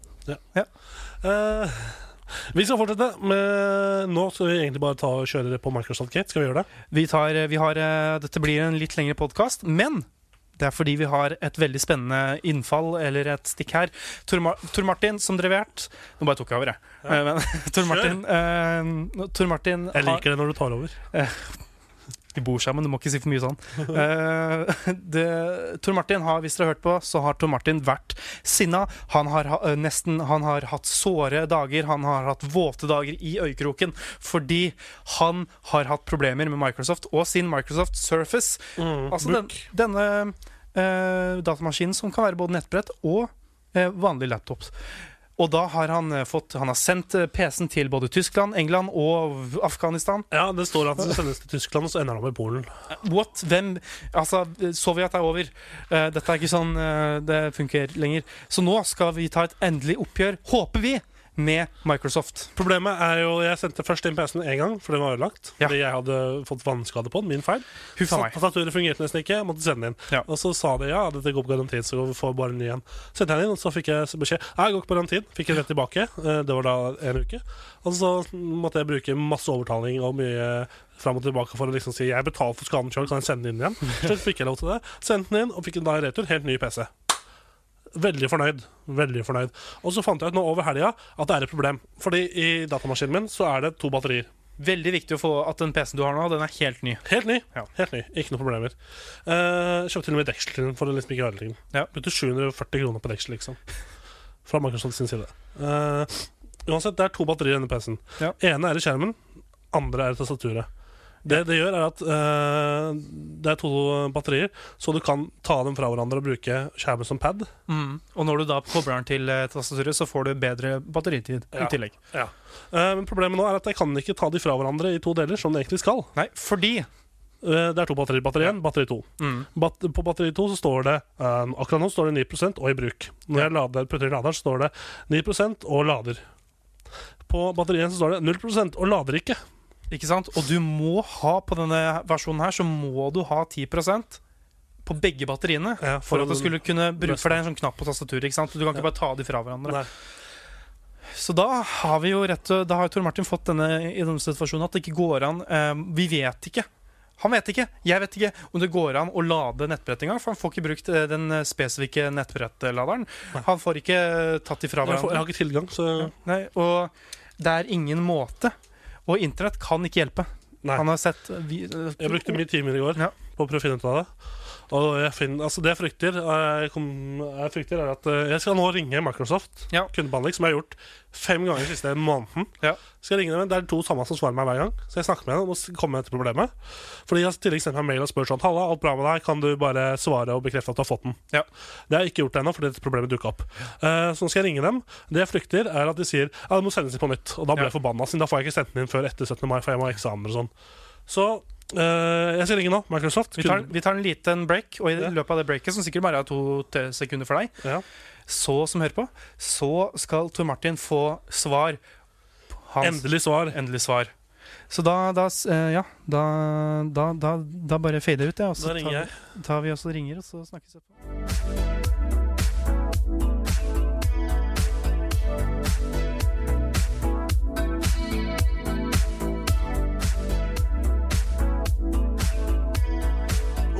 Speaker 2: Eh, vi skal fortsette, men nå skal vi egentlig bare ta og kjøre det på Microsoft Gate. Skal vi gjøre det?
Speaker 3: Vi tar, vi har, eh, dette blir en litt lengre podkast, men det er fordi vi har et veldig spennende innfall eller et stikk her. Tor, Mar Tor Martin, som dere vet Nå bare tok jeg over, jeg. Eh, Men, Tor Martin, eh, Tor Martin
Speaker 2: Jeg
Speaker 3: har-
Speaker 2: liker det når du tar over.
Speaker 3: De bor sammen, du må ikke si for mye sånn. Eh, det, Tor Martin har, hvis dere har hørt på, så har Tor Martin vært sinna. Han har, ha- eh, nesten, han har hatt såre dager, han har hatt våte dager i øyekroken fordi han har hatt problemer med Microsoft og sin Microsoft Surface. Altså den, denne eh, datamaskinen som kan være både nettbrett og eh, vanlig laptop. Og da har han, eh, fått, han har sendt eh, PC-en til både Tyskland, England og Afghanistan.
Speaker 2: Ja, det står at det sendes til Tyskland, og så ender han opp i Polen.
Speaker 3: What? Hvem? Altså, Sovjet er over. Eh, dette er ikke sånn eh, det funker lenger. Så nå skal vi ta et endelig oppgjør, håper vi, med Microsoft.
Speaker 2: Problemet er jo Jeg sendte først inn PC-en én gang, for den var ødelagt.
Speaker 3: Ja.
Speaker 2: Fordi jeg hadde fått vannskade på den. Min feil.
Speaker 3: Huff a meg.
Speaker 2: Tastaturet fungerte nesten ikke. Jeg måtte sende den inn.
Speaker 3: Ja.
Speaker 2: Og så sa de ja, dette går på garantien, så får vi bare en ny en. Sendte jeg den inn, og så fikk jeg beskjed Nei, det går ikke på garantien. Fikk jeg rett tilbake. Eh, Det var da en uke. Og så måtte jeg bruke masse overtaling og mye fram og tilbake for å liksom si jeg betaler for skaden sjøl, kan jeg sende den inn igjen? Så fikk jeg lov til det. Sendte den inn, og fikk den da i retur. Helt ny PC. Veldig fornøyd. veldig fornøyd Og så fant jeg ut nå over helga at det er et problem. Fordi i datamaskinen min så er det to batterier.
Speaker 3: Veldig viktig å få at den PC-en du har nå, den er helt ny.
Speaker 2: Helt ny.
Speaker 3: Ja.
Speaker 2: helt ny, Ikke noe problemer. Eh, kjøpte til og med deksel til den for å liksom ikke ødelegge den.
Speaker 3: Ja.
Speaker 2: Brukte 740 kroner på deksel, liksom. Fra Microsoft sin side. Eh, uansett, det er to batterier i denne PC-en.
Speaker 3: Ja.
Speaker 2: Ene er i skjermen, andre er i tastaturet. Det det gjør, er at eh, det er to batterier, så du kan ta dem fra hverandre og bruke skjermen som pad.
Speaker 3: Og når du da kobler den til eh, tastaturet, så får du bedre batteritid
Speaker 2: Ja.
Speaker 3: i tillegg.
Speaker 2: Ja. Eh, men problemet nå er at jeg kan ikke ta de fra hverandre i to deler, som det egentlig skal.
Speaker 3: Nei, fordi
Speaker 2: Eh, det er to batterier. Batteri 1, batteri 2.
Speaker 3: Mm.
Speaker 2: Bat på batteri 2 så står det eh, Akkurat nå står det 9 og i bruk. Når jeg lader, putter i laderen, så står det 9 og lader. På batteri 1 så står det 0 og lader ikke.
Speaker 3: Ikke sant? Og du må ha på denne versjonen her, så må du ha 10 på begge batteriene.
Speaker 2: Ja,
Speaker 3: For at du skulle kunne bruke
Speaker 2: Resten.
Speaker 3: For det er en sånn knapp på tastaturet. ikke sant? Du kan ikke bare ta de fra hverandre.
Speaker 2: Nei.
Speaker 3: Så da har vi jo rett Da har jo Tor Martin fått denne i denne situasjonen at det ikke går an eh, Vi vet ikke. Han vet ikke, jeg vet ikke om det går an å lade nettbrett engang. For han får ikke brukt eh, den eh, spesifikke nettbrettladeren. Han får ikke eh, tatt de fra
Speaker 2: Jeg, får, jeg
Speaker 3: hverandre.
Speaker 2: har ikke tilgang, så
Speaker 3: Nei, og det er ingen måte. Og internett kan ikke hjelpe.
Speaker 2: Nei.
Speaker 3: Han har sett vi, eh,
Speaker 2: Jeg brukte mye timer i går
Speaker 3: Ja.
Speaker 2: på å prøve å finne ut av det. Og jeg finner, altså det jeg frykter, eh, jeg, kom, jeg frykter er at eh, jeg skal nå ringe Microsoft,
Speaker 3: Ja.
Speaker 2: kundebehandling, som jeg har gjort fem ganger den siste måneden.
Speaker 3: Ja.
Speaker 2: Skal jeg ringe dem, men Det er to samme som svarer meg hver gang, så jeg snakker med dem om å s- komme etter problemet. Fordi jeg har i tillegg sendt meg mail og spurt sånn Halla, alt bra med deg? Kan du bare svare og bekrefte at du har fått den?
Speaker 3: Ja.
Speaker 2: Det har jeg ikke gjort ennå, fordi dette problemet dukka opp. Eh, så nå skal jeg ringe dem. Det jeg frykter, er at de sier ja, det må sendes inn på nytt. Og da blir
Speaker 3: Ja.
Speaker 2: jeg forbanna, siden da får jeg ikke sendt den inn før etter 17. mai, for jeg må ha eksamener og sånn. Så eh, jeg skal ringe nå, Microsoft.
Speaker 3: Vi tar,
Speaker 2: Kunden-
Speaker 3: vi tar en liten break, og i
Speaker 2: Ja.
Speaker 3: løpet av det breaket, som sikkert bare er to-tre sekunder for deg,
Speaker 2: ja.
Speaker 3: så som hører på, så skal Tor Martin få svar. på Hans
Speaker 2: Endelig svar.
Speaker 3: endelig svar. Så da, da s- eh, Ja, da, da, da, da bare fader ut, jeg. og så
Speaker 2: Da ringer jeg.
Speaker 3: Tar, tar vi også og ringer, og så snakkes vi etterpå.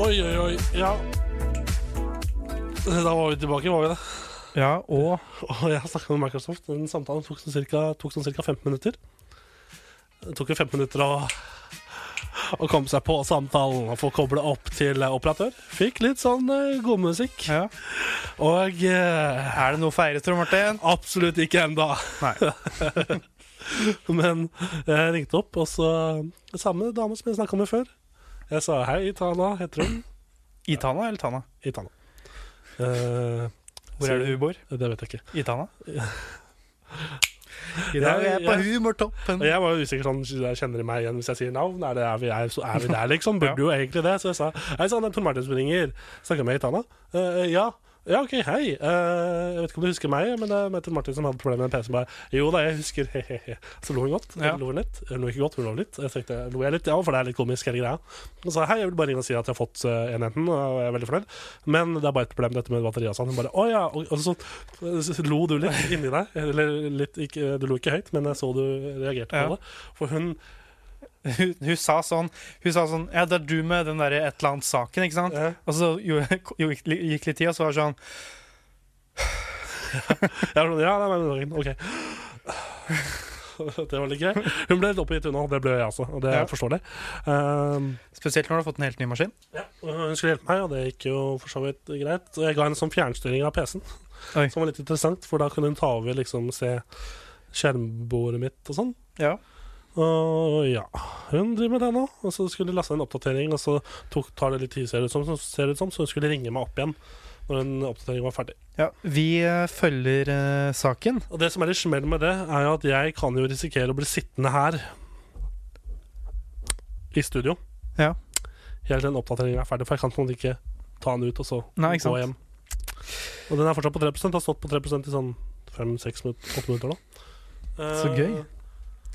Speaker 2: Oi, oi, oi. Ja. Da var vi tilbake, var vi det?
Speaker 3: Ja, og
Speaker 2: Og jeg snakka med Microsoft. Den samtalen tok sånn cirka, tok sånn cirka 15 minutter. Det tok jo 15 minutter å, å komme seg på samtalen og få koble opp til operatør. Fikk litt sånn eh, god musikk.
Speaker 3: ja.
Speaker 2: Og eh,
Speaker 3: Er det noe å feire, Tor Martin?
Speaker 2: absolutt ikke enda.
Speaker 3: Nei.
Speaker 2: Men jeg ringte opp, og så samme dame som jeg snakka med før. Jeg sa hei, Tana heter hun.
Speaker 3: I Tana eller Tana?
Speaker 2: I Tana. Eh,
Speaker 3: Hvor er det du bor?
Speaker 2: det vet jeg ikke.
Speaker 3: I Tana? I dag er jeg på
Speaker 2: Jeg-
Speaker 3: humortoppen.
Speaker 2: Og jeg var jo usikker sånn, kjenner de meg igjen hvis jeg sier navn? Er, det, er, vi, er, så er vi der, liksom? Burde jo egentlig det. Så jeg sa hei sann, det er Tor Martin som ringer. Snakka med Tana. Eh, ja. Ja, OK, hei. Eh, jeg vet ikke om du husker meg, men det er Tor Martin som hadde problemer med PC-en. bare Jo da, jeg husker, he-he-he. Så lo hun godt.
Speaker 3: Ja.
Speaker 2: Lo hun litt. Hun lo ikke godt, hun lo litt. Jeg tenkte, lo jeg litt, ja, for det er litt komisk, hele greia. Og sa hei, jeg vil bare ringe og si at jeg har fått eh, enheten, og jeg er veldig fornøyd. Men det er bare et problem dette med batteriet og sånn. Hun bare å ja. Og, og så, så lo du litt inni deg. Eller litt ikke, Du lo ikke høyt, men jeg så du reagerte på
Speaker 3: Ja.
Speaker 2: det. For hun
Speaker 3: Hun, hun sa sånn Hun sa sånn Ja, det er du med den derre et eller annet saken, ikke sant?
Speaker 2: Ja.
Speaker 3: Og så jo, jo, gikk gikk litt tid, og så var det sånn
Speaker 2: Jeg var sånn, ja, nei, nei, nei, ok Det var litt gøy Hun ble litt oppgitt unna, det ble jeg altså Og det
Speaker 3: Ja.
Speaker 2: er forståelig Ehm,
Speaker 3: Spesielt når du har fått en helt ny maskin.
Speaker 2: ja, og Hun skulle hjelpe meg, og det gikk jo for så vidt greit Og jeg ga henne en sånn fjernstyring av PC-en
Speaker 3: Oi.
Speaker 2: Som var litt interessant, for da kunne hun ta over liksom se skjermbordet mitt og sånn
Speaker 3: Ja.
Speaker 2: og ja, hun driver med det nå. Og så skulle de laste en oppdatering, og så tok, tar det litt tid, ser det ut som, så ser det ut som, så hun skulle ringe meg opp igjen når den oppdateringen var ferdig.
Speaker 3: ja. Vi eh, følger eh, saken.
Speaker 2: Og det som er litt smell med det, er jo at jeg kan jo risikere å bli sittende her i studio
Speaker 3: Ja.
Speaker 2: helt til den oppdateringen er ferdig, for jeg kan på en måte ikke ta den ut og så
Speaker 3: Nei, ikke
Speaker 2: gå
Speaker 3: sant.
Speaker 2: hjem. Og den er fortsatt på 3 har stått på 3 i sånn 5-6 minutter, 8 minutter nå.
Speaker 3: Så
Speaker 2: Eh,
Speaker 3: gøy.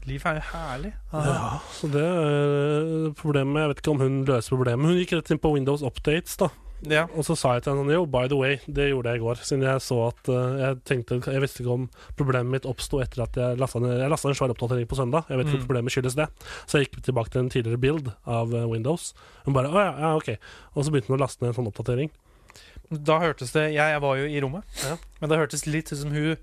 Speaker 3: Livet er jo herlig.
Speaker 2: Ja, så det er problemet Jeg vet ikke om hun løser problemet. Hun gikk rett inn på Windows Updates, da.
Speaker 3: Ja.
Speaker 2: Og så sa jeg til henne sånn, jo, by the way, det gjorde jeg i går. Siden jeg så at eh, jeg tenkte Jeg visste ikke om problemet mitt oppsto etter at jeg lasta ned jeg lastet ned en svær oppdatering på søndag. Jeg vet ikke om
Speaker 3: Mm.
Speaker 2: problemet skyldes det. Så jeg gikk tilbake til en tidligere build av eh, Windows. Hun bare å ja, ja, ok. Og så begynte hun å laste ned en sånn oppdatering.
Speaker 3: Da hørtes det Jeg, jeg var jo i rommet,
Speaker 2: Ja.
Speaker 3: men det hørtes litt ut som hun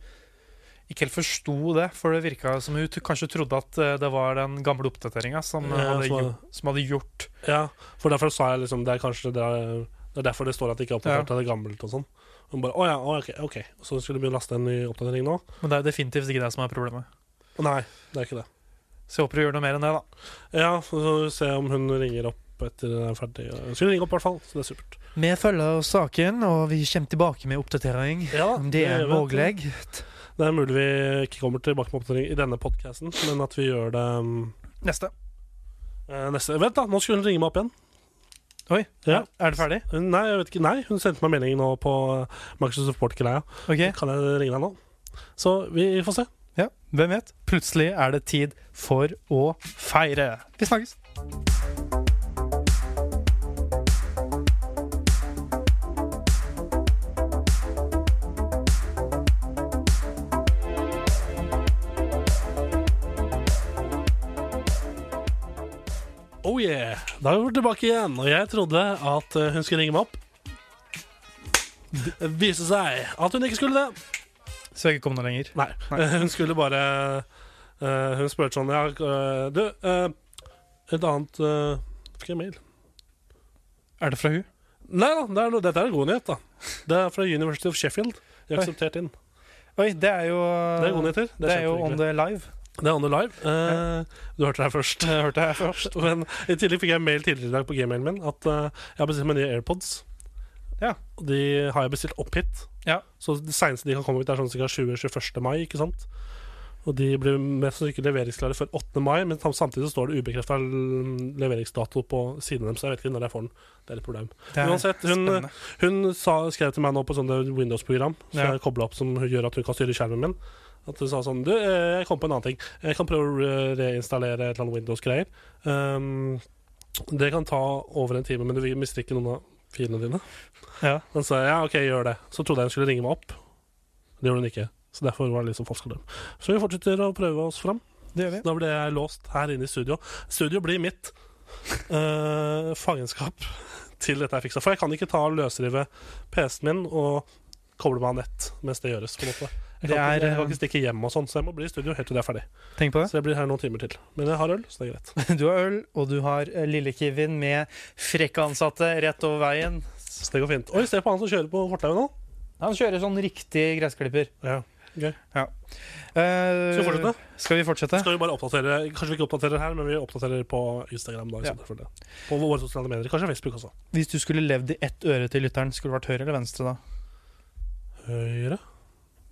Speaker 3: ikke helt forsto det. For det virka som hun t kanskje trodde at eh, det var den gamle oppdateringa som, eh,
Speaker 2: Ja,
Speaker 3: hadde
Speaker 2: som var-
Speaker 3: gjo- som hadde gjort
Speaker 2: Ja, for derfor sa jeg liksom Det er kanskje det er, det er derfor det står at det ikke er oppdatert, det er gammelt og sånn. Hun bare å ja, å, ok, ok. Så skulle hun begynne å laste en ny oppdatering nå.
Speaker 3: Men det er jo definitivt ikke det som er problemet.
Speaker 2: Nei, det er ikke det.
Speaker 3: Så jeg håper du gjør noe mer enn det, da.
Speaker 2: Ja, så får vi se om hun ringer opp etter den er ferdig. Hun skulle ringe opp, i hvert fall. Så det er supert.
Speaker 3: Vi følger saken, og vi kommer tilbake med oppdatering.
Speaker 2: Ja, gjør vi. Det er mulig vi ikke kommer tilbake med oppdatering i denne podkasten, men at vi gjør det um,
Speaker 3: Neste.
Speaker 2: eh, neste Vent, da! Nå skulle hun ringe meg opp igjen.
Speaker 3: Oi.
Speaker 2: Ja.
Speaker 3: Er det ferdig?
Speaker 2: Hun, nei, jeg vet ikke. Nei, hun sendte meg melding nå på eh, Microsoft Support-greia.
Speaker 3: OK.
Speaker 2: Kan jeg ringe deg nå? Så vi får se.
Speaker 3: Ja, hvem vet? Plutselig er det tid for å feire. Vi snakkes.
Speaker 2: Oh yeah! Da er vi tilbake igjen, og jeg trodde at eh, hun skulle ringe meg opp. Det viste seg at hun ikke skulle det.
Speaker 3: Så jeg ikke kom noe lenger.
Speaker 2: Nei. Hun skulle bare eh, Hun spurte sånn ja, eh, Du, eh, et annet eh, Fikk jeg mail?
Speaker 3: Er det fra hun?
Speaker 2: Nei da, det er, noe- dette er en god nyhet, da. Det er fra University of Sheffield. Jeg
Speaker 3: Oi.
Speaker 2: akseptert inn.
Speaker 3: Oi, det er jo
Speaker 2: Det er gode nyheter.
Speaker 3: Det er jo
Speaker 2: kjempehyggelig.
Speaker 3: On The Live.
Speaker 2: Det er on the live. Eh, du hørte det her først.
Speaker 3: Jeg hørte jeg først.
Speaker 2: Men i tillegg fikk jeg en mail tidligere i dag på gmailen min at eh, jeg har bestilt meg nye AirPods.
Speaker 3: Ja.
Speaker 2: Og de har jeg bestilt opp hit.
Speaker 3: Ja.
Speaker 2: Så det seneste de kan komme ut, er sånn ca. 20-21. mai. ikke sant? Og de blir mest sannsynlig ikke leveringsklare før 8. mai, men sam- samtidig så står det ubekrefta leveringsdato på siden av dem, så jeg vet ikke når jeg får den. Det er et problem.
Speaker 3: Det er
Speaker 2: Uansett, hun-
Speaker 3: spennende.
Speaker 2: Hun sa, skrev til meg nå på sånn det Windows-program som
Speaker 3: Ja.
Speaker 2: jeg koblet opp, som gjør at hun kan styre skjermen min. At hun sa sånn Du, eh, jeg kom på en annen ting. Jeg kan prøve å re- reinstallere et eller annet Windows-greier. Um, det kan ta over en time, men du vil- mister ikke noen av filene dine.
Speaker 3: Ja.
Speaker 2: Men så sa jeg, ja, OK, gjør det. Så trodde jeg hun skulle ringe meg opp. Det gjorde hun ikke. Så derfor var det liksom falsk alarm. Så vi fortsetter å prøve oss fram.
Speaker 3: Det gjør vi.
Speaker 2: Da ble jeg låst her inne i studio. Studio blir mitt. Eh, fangenskap til dette er fiksa. For jeg kan ikke ta og løsrive PC-en min og koble meg av nett mens det gjøres. på en måte Jeg
Speaker 3: Det
Speaker 2: kan,
Speaker 3: er,
Speaker 2: ikke, jeg kan
Speaker 3: eh,
Speaker 2: ikke stikke hjem, og sånn så jeg må bli i studio helt til det er ferdig.
Speaker 3: Tenk på det.
Speaker 2: Så jeg blir her noen timer til. Men jeg har øl, så det er greit.
Speaker 3: Du har øl, og du har eh, Lille Kevin med frekke ansatte rett over veien.
Speaker 2: Så det går fint. Oi, se på han som kjører på fortauet nå.
Speaker 3: Han kjører sånn riktig gressklipper.
Speaker 2: Ja.
Speaker 3: Eh,
Speaker 2: Skal vi fortsette?
Speaker 3: Skal vi fortsette?
Speaker 2: Skal vi bare oppdatere Kanskje vi ikke oppdaterer her, men vi oppdaterer på Instagram. da
Speaker 3: Ja.
Speaker 2: ja. På våre sosiale medier. Kanskje Facebook også.
Speaker 3: Hvis du skulle levd i ett øre til lytteren, skulle det vært høyre eller venstre da?
Speaker 2: Høyre.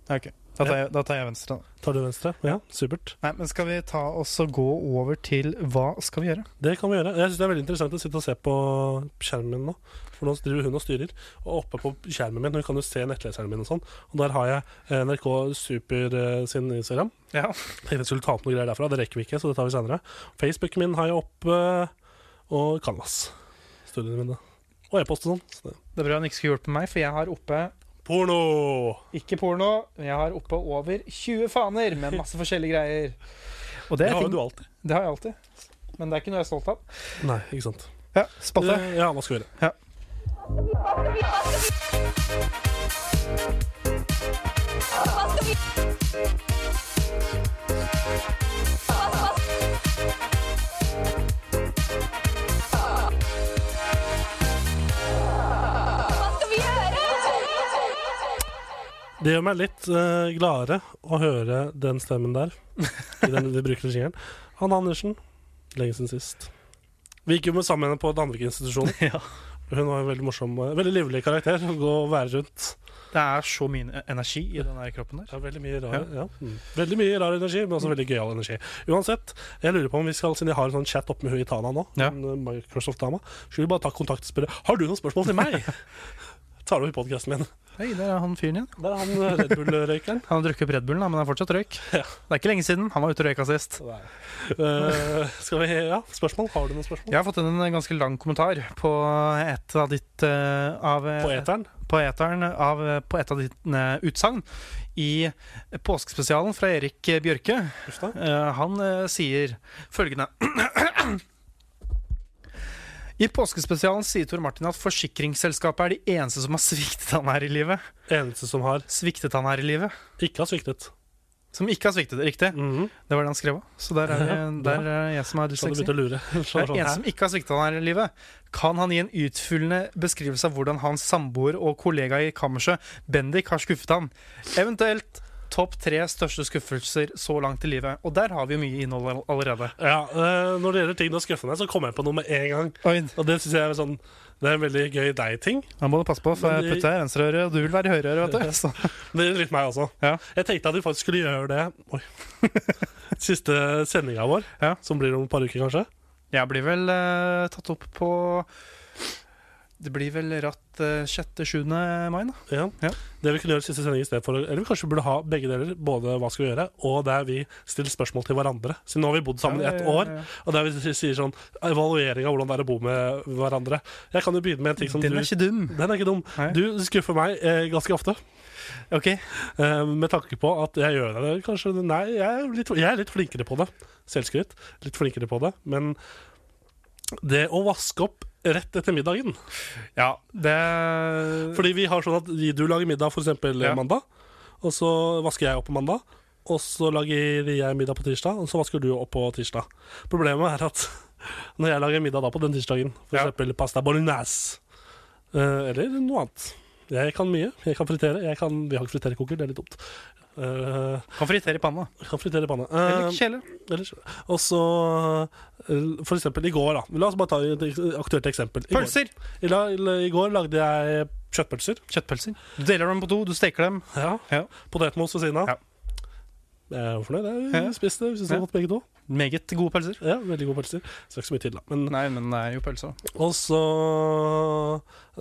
Speaker 3: Ja, ok. Da tar jeg, da tar jeg venstre. da.
Speaker 2: Tar du venstre? Ja, supert.
Speaker 3: Nei, men skal vi ta oss og gå over til hva skal vi gjøre?
Speaker 2: Det kan vi gjøre. Jeg synes det er veldig interessant å sitte og se på skjermen min nå. For nå driver hun og styrer. Og oppe på skjermen min, hun kan jo se nettleseren min og sånn. Og der har jeg eh, NRK Super eh, sin Instagram.
Speaker 3: Ja.
Speaker 2: Tenkte jeg skulle ta opp noe greier derfra. Det rekker vi ikke, så det tar vi senere. Facebooken min har jeg oppe. Og Canvas. Studiene mine. Og e-post og sånn. Så det-
Speaker 3: Det er bra han ikke skulle hjulpet meg, for jeg har oppe
Speaker 2: Porno!
Speaker 3: ikke porno, men jeg har oppe over 20 faner med masse forskjellige greier. Og det
Speaker 2: Det
Speaker 3: er
Speaker 2: har jo
Speaker 3: ting.
Speaker 2: du alltid.
Speaker 3: Det har jeg alltid. Men det er ikke noe jeg er stolt av.
Speaker 2: Nei, ikke sant.
Speaker 3: Ja, spalte.
Speaker 2: Eh, Ja, hva skal vi gjøre?
Speaker 3: Ja.
Speaker 2: Det gjør meg litt eh, gladere å høre den stemmen der. I den vi bruker regien. Hanne Andersen, lenge siden sist. Vi gikk jo med sammen med henne på Danvik-institusjonen.
Speaker 3: Ja.
Speaker 2: Hun var en veldig morsom, eh, veldig livlig karakter. Hun går og være rundt.
Speaker 3: Det er så mye energi i den der kroppen der.
Speaker 2: Ja, veldig mye rar, ja. Mm. Veldig mye rar energi, men også veldig gøyal energi. Uansett, jeg lurer på om vi skal, siden jeg har en sånn chat oppe med hun i Tana nå,
Speaker 3: Ja.
Speaker 2: en, eh, Microsoft-dama, skulle vi bare ta kontakt og spørre Har du noen spørsmål til meg? Tar du i podkasten min?
Speaker 3: Hei, der er han fyren igjen.
Speaker 2: Der er han eh, Red Bull-røykeren.
Speaker 3: Han har drukket opp Red Bullen, da, men han er fortsatt røyk.
Speaker 2: Ja.
Speaker 3: Det er ikke lenge siden. Han var ute og røyka sist.
Speaker 2: Eh, skal vi Ja, spørsmål? Har du noen spørsmål?
Speaker 3: Jeg har fått inn en ganske lang kommentar på et av ditt eh, av,
Speaker 2: På eteren?
Speaker 3: på eteren av, eh, på et av dine utsagn i påskespesialen fra Erik Bjørke.
Speaker 2: Uff da.
Speaker 3: Eh, han eh, sier følgende I påskespesialen sier Tor Martin at forsikringsselskapet er de eneste som har sviktet han her i livet.
Speaker 2: Eneste som har
Speaker 3: Sviktet han her i livet.
Speaker 2: ikke har sviktet.
Speaker 3: Som ikke har sviktet, riktig.
Speaker 2: Mhm.
Speaker 3: Det var det han skrev òg. Så der er,
Speaker 2: Ja,
Speaker 3: det- der er jeg som
Speaker 2: Så
Speaker 3: er
Speaker 2: hadde
Speaker 3: dysleksi.
Speaker 2: begynt å lure. Så var det
Speaker 3: Det er en
Speaker 2: sånn,
Speaker 3: som ikke har svikta han her i livet. Kan han gi en utfyllende beskrivelse av hvordan hans samboer og kollega i kammerset, Bendik, har skuffet han? Eventuelt topp tre største skuffelser så langt i livet. Og der har vi jo mye innhold all- allerede.
Speaker 2: «Hæ?» ja, eh, når det gjelder ting du har skuffet deg, så kommer jeg på noe med en gang.
Speaker 3: Oi,
Speaker 2: Og det synes jeg er sånn Det er en veldig gøy deg-ting.
Speaker 3: Da må du passe på, for
Speaker 2: Men
Speaker 3: jeg
Speaker 2: det-
Speaker 3: putter deg i venstreøret, og du vil være i høyreøret, vet du. Så.
Speaker 2: Det er litt meg også.
Speaker 3: Ja.
Speaker 2: Jeg tenkte at vi faktisk skulle gjøre det Oi. Siste sendinga vår,
Speaker 3: Ja.
Speaker 2: som blir om et par uker, kanskje.
Speaker 3: Jeg blir vel eh, tatt opp på Det blir vel ratt eh, 6.-7. mai, da.
Speaker 2: Ja.
Speaker 3: Ja.
Speaker 2: Det vi kunne gjøre i siste sending i stedet for Eller vi kanskje burde ha begge deler. Både hva skal vi gjøre, og der vi stiller spørsmål til hverandre. Siden nå har vi bodd sammen i ett år. Og der vi sier sånn Evaluering av hvordan det er å bo med hverandre. Jeg kan jo begynne med en ting som
Speaker 3: Den
Speaker 2: du
Speaker 3: er ikke dum.
Speaker 2: Den er ikke dum.
Speaker 3: Nei.
Speaker 2: Du skuffer meg eh, ganske ofte.
Speaker 3: OK.
Speaker 2: Eh, med tanke på at jeg gjør det kanskje Nei, jeg er litt, jeg er litt flinkere på det. Selvskryt. Litt flinkere på det. Men det å vaske opp rett etter middagen
Speaker 3: Ja, det
Speaker 2: Fordi vi har sånn at du lager middag f.eks. eksempel
Speaker 3: Ja.
Speaker 2: mandag, og så vasker jeg opp på mandag. Og så lager jeg middag på tirsdag, og så vasker du opp på tirsdag. Problemet er at når jeg lager middag da på den tirsdagen, f.eks.
Speaker 3: Ja.
Speaker 2: eksempel pasta bolognese eh, eller noe annet Jeg kan mye. Jeg kan fritere. Jeg kan, vi har ikke friterekoker, det er litt dumt. Eh,
Speaker 3: Kan fritere i panna.
Speaker 2: kan fritere i panne.
Speaker 3: Eller
Speaker 2: Eh,
Speaker 3: kjele.
Speaker 2: ellers- og så eh, For eksempel i går, da. La oss bare ta et aktuelt eksempel. I går,
Speaker 3: Pølser!
Speaker 2: I, la, I går lagde jeg kjøttpølser.
Speaker 3: Kjøttpølser. Du deler dem på to, du steker dem.
Speaker 2: Ja.
Speaker 3: Ja.
Speaker 2: Potetmos ved siden av.
Speaker 3: Ja.
Speaker 2: Jeg er fornøyd. jeg. Vi
Speaker 3: Ja.
Speaker 2: spiste vi synes det var
Speaker 3: Ja.
Speaker 2: godt begge to.
Speaker 3: Meget gode pølser.
Speaker 2: Ja, Veldig gode pølser. Så ikke så mye til, da. Men,
Speaker 3: Nei, men det er jo pølser.
Speaker 2: og så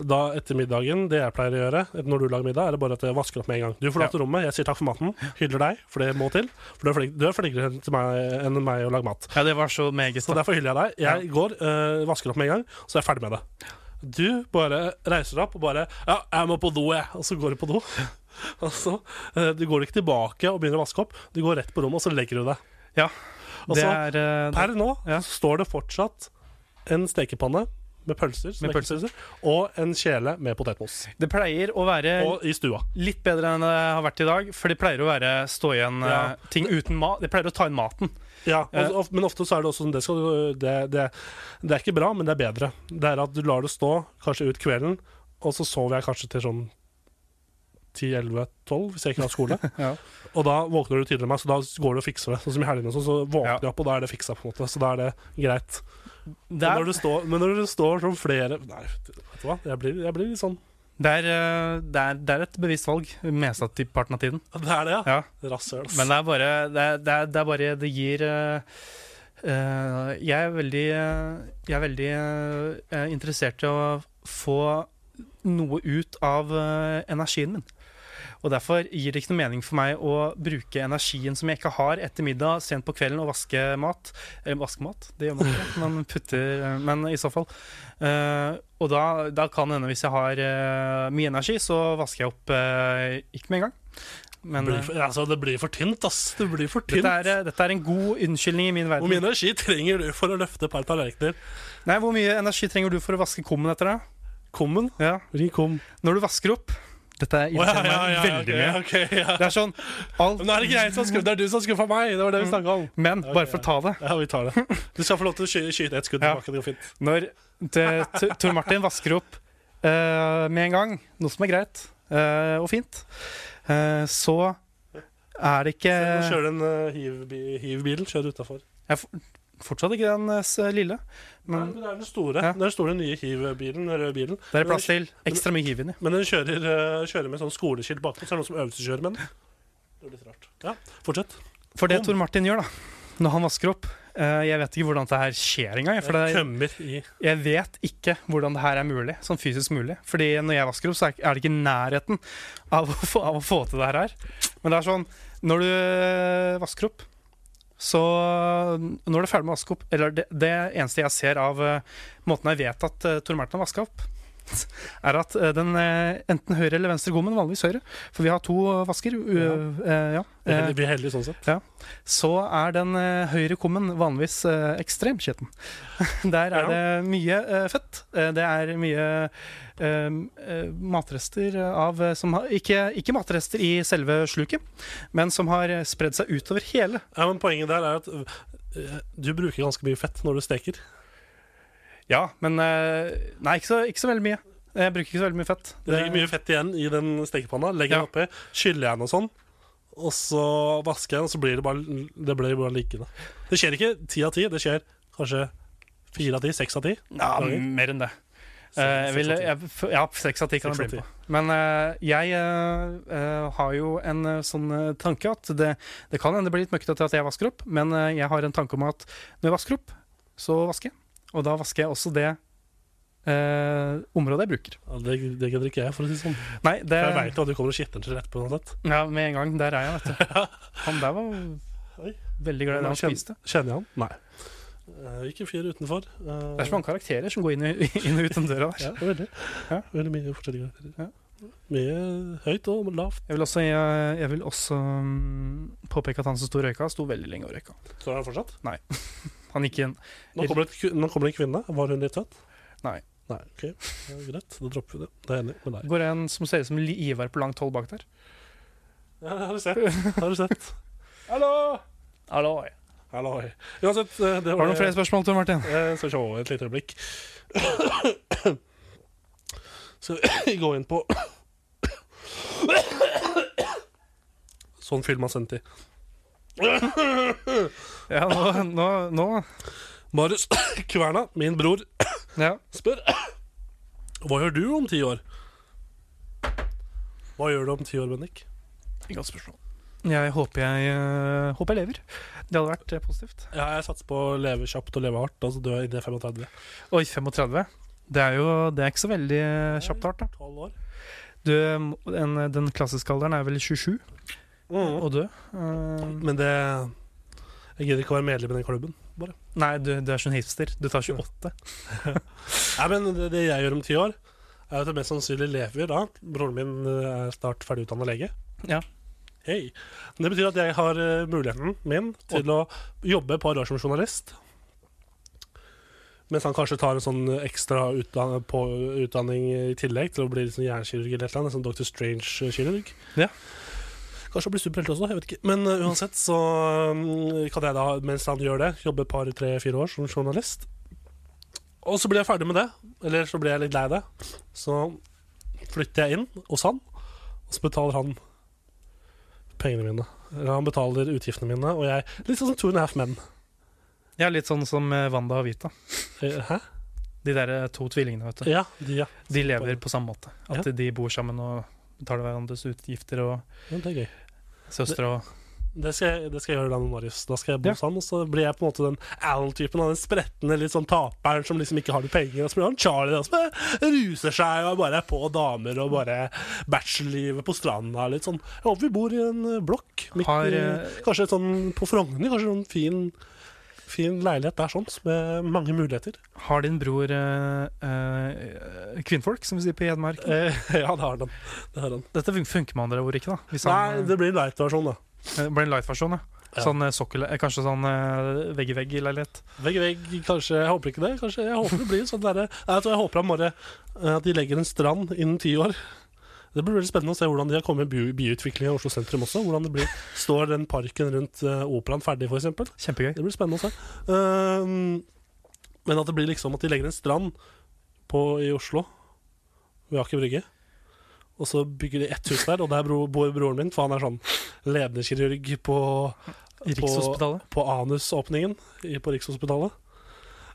Speaker 2: da etter middagen, det jeg pleier å gjøre et- når du lager middag, er det bare at jeg vasker opp med en gang. Du forlater rommet, jeg sier takk for maten, hyller deg, for det må til. For du er flink- du er flinkere enn til meg enn meg å lage mat.
Speaker 3: Ja, det var så meget.
Speaker 2: Så
Speaker 3: da.
Speaker 2: derfor hyller jeg deg. Jeg går, øh, vasker opp med en gang, så er jeg ferdig med det. Du bare reiser deg opp og bare Ja, jeg må på do, jeg. Og så går du på do. Og så øh, Du går ikke tilbake og begynner å vaske opp. Du går rett på rommet, og så legger du deg.
Speaker 3: Ja,
Speaker 2: Og
Speaker 3: det
Speaker 2: så
Speaker 3: er eh,
Speaker 2: per nå
Speaker 3: Ja.
Speaker 2: så står det fortsatt en stekepanne med pølser, stekte
Speaker 3: Med
Speaker 2: pølser. og en kjele med potetmos.
Speaker 3: Det pleier å være
Speaker 2: Og i stua.
Speaker 3: litt bedre enn det har vært i dag, for det pleier å være stå igjen
Speaker 2: Ja.
Speaker 3: eh, ting uten mat. Det pleier å ta inn maten.
Speaker 2: Ja,
Speaker 3: Eh.
Speaker 2: og, og, men ofte så er det også sånn det, skal, du- det, det, det er ikke bra, men det er bedre. Det er at du lar det stå kanskje ut kvelden, og så sover jeg kanskje til sånn 10-11-12 hvis jeg ikke har skole.
Speaker 3: Ja.
Speaker 2: Og da våkner du tidligere enn meg, så da går du og fikser det. Sånn som i helgene, og sånn, så våkner
Speaker 3: Ja.
Speaker 2: jeg opp, og da er det fiksa, på en måte. Så da er det greit.
Speaker 3: Det
Speaker 2: Men
Speaker 3: er,
Speaker 2: når du står, men når du står sånn flere Nei, vet du hva, jeg blir, jeg blir litt sånn
Speaker 3: det, er, eh, det, er, det er et bevisst valg mesteparten av tiden.
Speaker 2: Det er det, ja.
Speaker 3: Ja.
Speaker 2: Rasshøl. ass.
Speaker 3: Men eh, det er bare Det, er- det, er, det, er bare, det gir eh, eh, Jeg er veldig eh, Jeg er veldig eh, interessert i å få noe ut av eh, energien min. Og Derfor gir det ikke noe mening for meg å bruke energien som jeg ikke har etter middag, sent på kvelden, og vaske mat. Eller vaske mat, det gjør man ikke, man putter eh, Men i så fall. Eh, og da, da kan det hende, hvis jeg har eh, mye energi, så vasker jeg opp eh, ikke med en gang.
Speaker 2: det,
Speaker 3: Men,
Speaker 2: blir for, altså, det blir for tynt, ass. Det blir for tynt.
Speaker 3: dette er, eh, dette er en god unnskyldning i min verden.
Speaker 2: Hvor mye energi trenger du for å løfte et par tallerkener?
Speaker 3: Nei, hvor mye energi trenger du for å vaske kummen etter deg?
Speaker 2: Kummen?
Speaker 3: Ja.
Speaker 2: Hvilken kum?
Speaker 3: Når du vasker opp Dette
Speaker 2: Å, ja,
Speaker 3: irriterer
Speaker 2: ja, ja,
Speaker 3: meg
Speaker 2: ja,
Speaker 3: veldig mye.
Speaker 2: ok, ok, ja.
Speaker 3: Det er sånn alt,
Speaker 2: Men nå er det ikke jeg som har skuffet, det er du som har skuffa meg. Det var
Speaker 3: Mm.
Speaker 2: det vi snakka om.
Speaker 3: Men bare for å ta det.
Speaker 2: Ja, vi tar det. Du skal få lov til å sky skyte ett skudd
Speaker 3: Ja.
Speaker 2: tilbake. Det går fint.
Speaker 3: Når det- T- Tor Martin vasker opp eh, med en gang, noe som er greit eh, og fint, eh, så er det ikke
Speaker 2: Nå kjører du en eh, hiv- hivbilen. Kjør utafor.
Speaker 3: Fortsatt ikke den eh, s- lille,
Speaker 2: Nei,
Speaker 3: men
Speaker 2: men Det er den store,
Speaker 3: Mm. Ja.
Speaker 2: det er den store nye hivbilen, den røde bilen.
Speaker 3: det er plass til ekstra mye hiv inni.
Speaker 2: Men den kjører, eh, kjører med sånn skoleskilt bakpå, så er det noen som øvelseskjører med den. Det er litt rart. Ja, fortsett.
Speaker 3: For det Tor Martin gjør, da, når han vasker opp eh, Jeg vet ikke hvordan det her skjer engang. jeg, For det,
Speaker 2: Tømmer i
Speaker 3: Jeg vet ikke hvordan det her er mulig, sånn fysisk mulig. Fordi når jeg vasker opp, så er er det ikke i nærheten av å få, av å få til det her. Men det er sånn Når du øh, vasker opp, så Når du er ferdig med å vaske opp Eller det, det eneste jeg ser av øh, måten jeg vet at uh, Tor Martin har vaska opp, er at øh, den øh, enten høyre eller venstre gommen, vanligvis høyre, for vi har to øh, vasker, øh, øh, ja.
Speaker 2: Vi er
Speaker 3: øh,
Speaker 2: heldige- vi er heldige sånn sett.
Speaker 3: så er den eh, høyre kummen vanligvis eh, ekstremt skitten. Der er
Speaker 2: Ja.
Speaker 3: det mye eh, fett. Eh, det er mye eh, eh, matrester av eh, som har, ikke, ikke matrester i selve sluket, men som har eh, spredd seg utover hele.
Speaker 2: Ja, men Poenget der er at eh, du bruker ganske mye fett når du steker.
Speaker 3: Ja, men eh, Nei, ikke så, ikke så veldig mye. Jeg bruker ikke så veldig mye fett.
Speaker 2: Det ligger mye fett igjen i den stekepanna. Legger
Speaker 3: Ja.
Speaker 2: den oppi, skyller jeg den og sånn. Og så vasker jeg den, og så blir det bare, det blir bare liggende. Det skjer ikke ti av ti, det skjer kanskje fire av ti, seks av ti.
Speaker 3: Ja, mer enn det.
Speaker 2: Så-
Speaker 3: Eh, jeg
Speaker 2: seks
Speaker 3: ville-
Speaker 2: av ti.
Speaker 3: jeg, f- ja, seks av ti kan
Speaker 2: Seks
Speaker 3: jeg
Speaker 2: av
Speaker 3: bli med på. Men eh, jeg eh, eh, har jo en eh, sånn eh, tanke at det, det kan hende det blir litt møkkete at jeg vasker opp, men eh, jeg har en tanke om at når jeg vasker opp, så vasker jeg. Og da vasker jeg også det eh, området jeg bruker.
Speaker 2: Ja, det, det gidder ikke jeg, for å si det sånn.
Speaker 3: Nei, det
Speaker 2: For jeg veit jo at du kommer og skitner til etterpå uansett.
Speaker 3: Ja, med en gang. Der er jeg, vet du. Han der var
Speaker 2: Oi.
Speaker 3: veldig glad i det han
Speaker 2: Kjenn-
Speaker 3: spiste.
Speaker 2: Kjenner jeg han? Nei. Eh, ikke fyr utenfor. Eh,
Speaker 3: Det er så mange karakterer som går inn, i, inn og ut den døra der.
Speaker 2: Ja, veldig.
Speaker 3: Ja.
Speaker 2: Veldig mye forskjellige karakterer.
Speaker 3: Ja.
Speaker 2: Mye høyt og lavt.
Speaker 3: Jeg vil også, eh, jeg, jeg vil også mm, påpeke at han som sto og røyka, sto veldig lenge og røyka.
Speaker 2: Står han fortsatt?
Speaker 3: Han gikk inn
Speaker 2: Nå kommer, det, et ku- nå kommer det en kvinne. Var hun litt søt?
Speaker 3: Nei.
Speaker 2: Nei, ok. Det er greit, da dropper vi det. Det er jeg enig med deg.
Speaker 3: Går det en som ser ut som Li- Ivar på langt hold bak der?
Speaker 2: Ja, det har du sett. Det Har du sett. Hallo!
Speaker 3: Hallo.
Speaker 2: Hallo. Uansett, eh, det
Speaker 3: Har
Speaker 2: var
Speaker 3: du noen flere spørsmål, Tor Martin?
Speaker 2: Jeg skal se et lite øyeblikk. Skal vi gå inn på Sånn fyller man sendt i.
Speaker 3: Ja, nå, nå, nå.
Speaker 2: Marius Kverna, min bror,
Speaker 3: Ja.
Speaker 2: spør Hva gjør du om ti år? Hva gjør du om ti år, Bendik?
Speaker 3: Godt spørsmål. Jeg håper jeg, eh, håper jeg lever. Det hadde vært eh, positivt.
Speaker 2: Ja, jeg satser på å leve kjapt og leve hardt, og så dø innen jeg er 35.
Speaker 3: Oi, 35. Det er jo det er ikke så veldig eh, kjapt hardt, da.
Speaker 2: 12 år.
Speaker 3: Du, en, den klassiske alderen er vel 27 å dø. Eh,
Speaker 2: Men det Jeg gidder ikke å være medlem i den klubben.
Speaker 3: nei, du, du er sånn hipster. Du tar 28.
Speaker 2: Nei, men det, det jeg gjør om ti år, er at jeg mest sannsynlig lever da. Broren min eh, er snart ferdigutdanna lege.
Speaker 3: Ja.
Speaker 2: Hei. Det betyr at jeg har eh, muligheten min til å jobbe et par år som journalist. Mens han kanskje tar en sånn ekstra utdan på utdanning i tillegg til å bli liksom jernkirurg eller et eller annet. En sånn Dr. Strange-kirurg.
Speaker 3: Ja.
Speaker 2: Kanskje han blir superhelt også, jeg vet ikke. Men uh, uansett så um, kan jeg da, mens han gjør det, jobbe et par, tre, fire år som journalist. Og så blir jeg ferdig med det, eller så blir jeg litt lei det. Så flytter jeg inn hos han, og så betaler han pengene mine. Eller han betaler utgiftene mine, og jeg Litt sånn som Two and a Half Men.
Speaker 3: Ja, litt sånn som eh, Wanda og Vita.
Speaker 2: Eh, Hæ?
Speaker 3: De der eh, to tvillingene, vet du.
Speaker 2: Ja, de, ja.
Speaker 3: De lever på samme måte. At
Speaker 2: Ja.
Speaker 3: de bor sammen og betaler hverandres utgifter og
Speaker 2: ja det er gøy.
Speaker 3: søstre og
Speaker 2: Det skal, jeg, det skal jeg gjøre da med Marius. Da skal jeg bo
Speaker 3: Ja.
Speaker 2: hos han, og så blir jeg på en måte den Alan-typen. av Den spretne litt sånn taperen som liksom ikke har noe penger. Og så blir han Charlie, da, som bare ruser seg og bare er på damer og bare bachelorlivet på stranda. Litt sånn. Jeg håper vi bor i en eh, blokk. Midt
Speaker 3: Har,
Speaker 2: i,
Speaker 3: eh,
Speaker 2: kanskje et sånn på Frogner. Kanskje en sånn fin, fin leilighet der sånn, med mange muligheter.
Speaker 3: Har din bror eh, eh, kvinnfolk, som vi sier på Hedmark?
Speaker 2: Eh, ja, det har han. Det har han.
Speaker 3: Dette fun- funker med andre ord ikke, da. Hvis han,
Speaker 2: Nei, det blir light-versjon, da.
Speaker 3: eh, blir en light-versjon, ja.
Speaker 2: Ja.
Speaker 3: Sånn eh, sokkel, eh, kanskje sånn eh, vegg i vegg i leilighet.
Speaker 2: Vegg i vegg, kanskje. Jeg håper ikke det. Kanskje, jeg håper det blir sånn derre Nei, Jeg tror jeg håper han bare eh, At de legger en strand innen ti år. Det blir veldig spennende å se hvordan de har kommet med by byutviklingen i Oslo sentrum også. Hvordan det blir Står den parken rundt eh, operaen ferdig, for eksempel
Speaker 3: Kjempegøy.
Speaker 2: Det blir spennende å se. Ehm, men at det blir liksom at de legger en strand på, i Oslo, ved Aker Brygge. Og så bygger de ett hus der, og der bor, bor broren min, for han er sånn ledende kirurg på
Speaker 3: I Rikshospitalet.
Speaker 2: på anusåpningen i- på Rikshospitalet.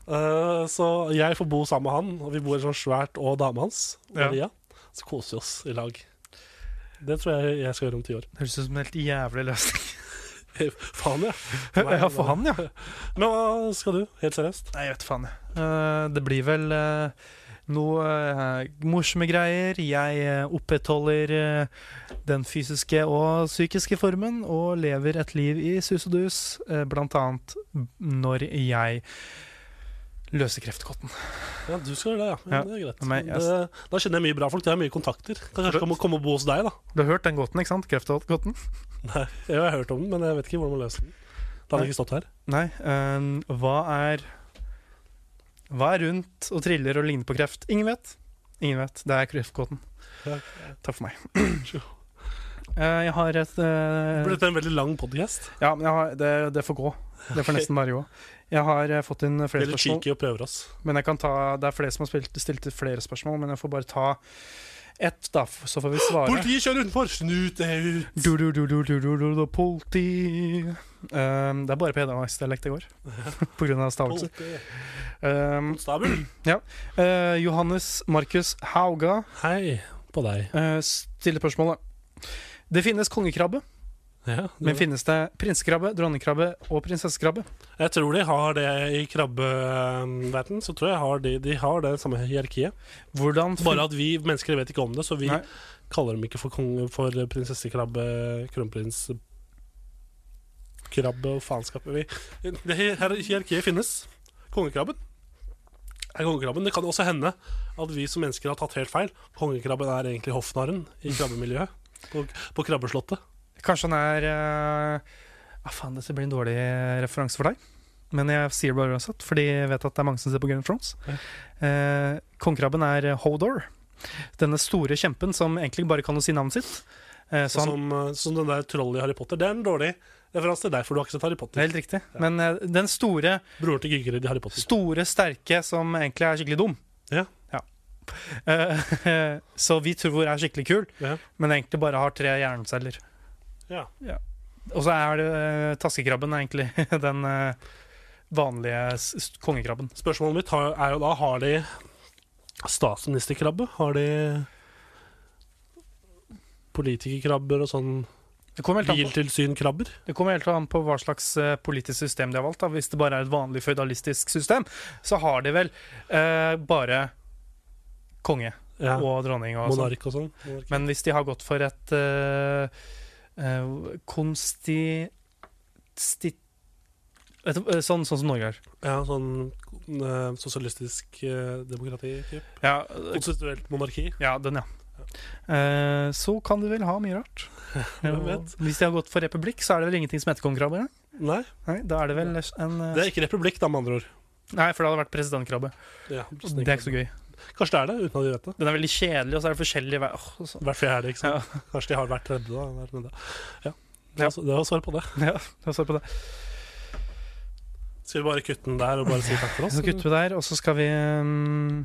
Speaker 2: Eh, så jeg får bo sammen med han, og vi bor sånn svært og dama hans,
Speaker 3: Ja.
Speaker 2: Maria. Så koser vi oss i lag. Det tror jeg jeg skal gjøre om ti år.
Speaker 3: Det høres ut som en helt jævlig løsning.
Speaker 2: Faen, ja.
Speaker 3: ja, for han, ja.
Speaker 2: Men hva skal du? Helt seriøst?
Speaker 3: Nei, jeg vet faen, jeg. Eh, det blir vel eh, noe eh, morsomme greier. Jeg eh, opprettholder eh, den fysiske og psykiske formen og lever et liv i sus og dus, eh, blant annet når jeg løser kreftkotten.
Speaker 2: Ja, du skal gjøre det, ja.
Speaker 3: Ja,
Speaker 2: Men det er greit.
Speaker 3: men jeg-
Speaker 2: det, da kjenner jeg mye bra folk. Jeg har mye kontakter. Kan kanskje komme, komme og bo hos deg, da.
Speaker 3: Du har hørt den gåten, ikke sant? Kreftkotten?
Speaker 2: Nei, jeg har hørt om den, men jeg vet ikke hvordan man løser den. Da hadde jeg ikke stått her.
Speaker 3: Nei. eh, hva er Hva er rundt og triller og ligner på kreft? Ingen vet. Ingen vet. Det er kreftkotten.
Speaker 2: Ja.
Speaker 3: Takk for meg. Eh, jeg har et
Speaker 2: Det
Speaker 3: eh,
Speaker 2: ble dette en veldig lang podcast
Speaker 3: Ja, men jeg har, det, det får gå. Det får nesten bare gå. Jeg har eh, fått inn flere
Speaker 2: Veldig
Speaker 3: spørsmål,
Speaker 2: cheeky og prøver oss.
Speaker 3: men jeg kan ta, det er flere som har spilt, stilt flere spørsmål, men jeg får bare ta ett, da, f- så får vi svare.
Speaker 2: Politiet kjører utenfor! Snut deg ut!
Speaker 3: Du, du, du, du, du, du, du, du, politi um, Det er bare pedermaksdialekt det går, på grunn av stavelser.
Speaker 2: Politiet.
Speaker 3: Um,
Speaker 2: Stabel.
Speaker 3: eh, Johannes Markus Hauga
Speaker 2: Hei på deg.
Speaker 3: eh, stiller spørsmålet. Det finnes kongekrabbe,
Speaker 2: Ja,
Speaker 3: men finnes det prinsekrabbe, dronningkrabbe og prinsessekrabbe?
Speaker 2: jeg tror de har det i krabbeverden. Så tror jeg har de, de har det samme hierarkiet.
Speaker 3: Hvordan fun-
Speaker 2: Bare at vi mennesker vet ikke om det, så vi
Speaker 3: Nei.
Speaker 2: kaller dem ikke for, konge, for prinsessekrabbe, kronprins Krabbe og faenskap. Vi- Det her hierarkiet finnes. Kongekrabben er kongekrabben. Det kan også hende at vi som mennesker har tatt helt feil. Kongekrabben er egentlig hoffnarren i krabbemiljøet. På, på krabbeslottet.
Speaker 3: Kanskje han er eh, ah, Faen, dette blir en dårlig eh, referanse for deg. Men jeg sier det bare uansett, fordi jeg vet at det er mange som ser på Game of Thrones.
Speaker 2: Ja.
Speaker 3: Eh, Kongekrabben er Hodor. Denne store kjempen som egentlig bare kan å si navnet sitt. Eh, så han,
Speaker 2: Som, eh, som den der trollet i Harry Potter. Det er en dårlig referanse til deg, for du har ikke sett Harry
Speaker 3: det
Speaker 2: Potter.
Speaker 3: er helt riktig. Men eh, den store,
Speaker 2: Broren til Gygrid i Harry Potter.
Speaker 3: store, sterke som egentlig er skikkelig dum.
Speaker 2: Ja.
Speaker 3: Eh, så vi tror er skikkelig kul,
Speaker 2: Ja.
Speaker 3: men egentlig bare har tre jernceller.
Speaker 2: Ja.
Speaker 3: Og så er det eh, taskekrabben er egentlig den eh, vanlige s- s- kongekrabben.
Speaker 2: Spørsmålet mitt har- er jo da Har de statsministerkrabbe? Har de politikerkrabber og sånn
Speaker 3: Det kommer helt an på,
Speaker 2: biltilsynkrabber?
Speaker 3: det kommer helt an på hva slags eh, politisk system de har valgt. Da. Hvis det bare er et vanlig føydalistisk system, så har de vel eh, bare konge
Speaker 2: Ja.
Speaker 3: og dronning og sånn.
Speaker 2: Monark og sånn? Monark.
Speaker 3: Men hvis de har gått for et eh, eh, konsti... Sti, et, eh, sånn, sånn som Norge er.
Speaker 2: Ja, sånn eh, sosialistisk eh, demokrati? Typ.
Speaker 3: Ja, eh,
Speaker 2: Konstituelt monarki?
Speaker 3: ja den, ja. Eh, så kan du vel ha mye rart.
Speaker 2: Hvem vet?
Speaker 3: Og Hvis de har gått for republikk, så er det vel ingenting som heter kongekrabbe? ja?
Speaker 2: Nei,
Speaker 3: Nei, da er det vel en eh,
Speaker 2: det er ikke republikk, da, med andre ord.
Speaker 3: Nei, for det hadde vært presidentkrabbe.
Speaker 2: Ja,
Speaker 3: Og Det er ikke så gøy.
Speaker 2: Kanskje det er det, uten at de vet det.
Speaker 3: Den er veldig kjedelig, og så er det forskjellige veier. Åh, så-
Speaker 2: Hvert fjerde, ikke sant. Kanskje de har hvert tredje, da. Hvert tredje. Ja. Det var- det var svar på det.
Speaker 3: Ja, jeg så på det.
Speaker 2: Skal vi bare kutte den der og bare si takk for oss?
Speaker 3: Så kutter vi der, og så skal vi um,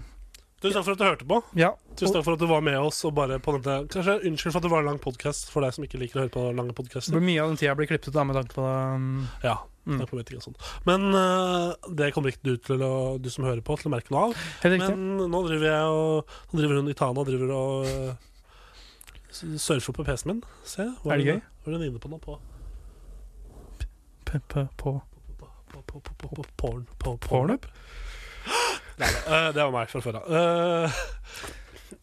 Speaker 2: Tusen takk for at du hørte på.
Speaker 3: Ja.
Speaker 2: Tusen takk for at du var med oss. Og bare på dette Kanskje Unnskyld for at det var en lang podkast for deg som ikke liker å høre på lange podkaster.
Speaker 3: Mye av den tida blir klippet da, med tanke på um,
Speaker 2: Ja,
Speaker 3: Mm.
Speaker 2: takk for meldingen og sånn. Men øh, det kommer ikke du til å, du som hører på, til å merke noe av.
Speaker 3: Helt riktig.
Speaker 2: Men nå driver jeg og Nå driver hun Itana og driver og øh, s- surfer på PC-en min. Se. hva
Speaker 3: Er det
Speaker 2: hun-
Speaker 3: gøy?
Speaker 2: Hva er hun inne på nå? På,
Speaker 3: P- p- På
Speaker 2: på, på, på, på, på, på porn. På, porn.
Speaker 3: pornup?
Speaker 2: Eh, det var meg fra før av. Eh,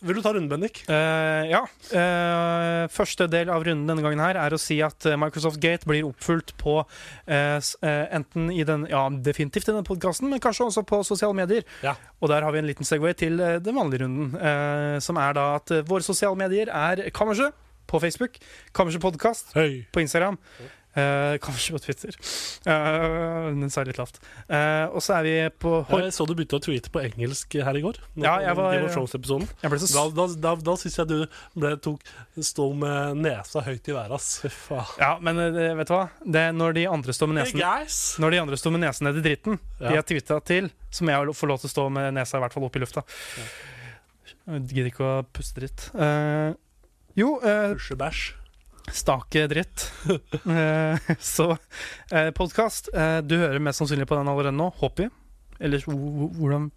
Speaker 2: vil du ta runden, Bendik?
Speaker 3: Eh, ja. Eh, første del av runden denne gangen her er å si at eh, Microsoft Gate blir oppfulgt på eh, s- eh, enten i den Ja, definitivt i denne podkasten, men kanskje også på sosiale medier.
Speaker 2: Ja.
Speaker 3: Og der har vi en liten segway til eh, den vanlige runden, eh, som er da at eh, våre sosiale medier er Kammerset på Facebook, Kammerset Podkast
Speaker 2: Høy.
Speaker 3: på Instagram. eh, kanskje på Twitter. Eh, den sa jeg litt lavt. Eh, og så er vi på Hoi.
Speaker 2: Jeg så du begynte å tweete på engelsk her i går.
Speaker 3: Ja, jeg var-
Speaker 2: Game of Thrones-episoden.
Speaker 3: Jeg ble så
Speaker 2: Da, da, da, da syns jeg du ble, tok, sto med nesa høyt i været, ass. Fy faen.
Speaker 3: Ja, men eh, vet du hva? Det er når de andre står med
Speaker 2: Hey,
Speaker 3: nesen
Speaker 2: guys!
Speaker 3: Når de andre står med nesen ned i dritten,
Speaker 2: Ja.
Speaker 3: de har tweeta til, så må jeg lo- få lov til å stå med nesa i hvert fall opp i lufta. Jeg gidder ikke å puste dritt. Eh, jo, eh,
Speaker 2: Usjebæsj.
Speaker 3: stake dritt. Eh, så uh, podkast Du hører mest sannsynlig på den allerede nå, håper vi. Ellers h- h- hvordan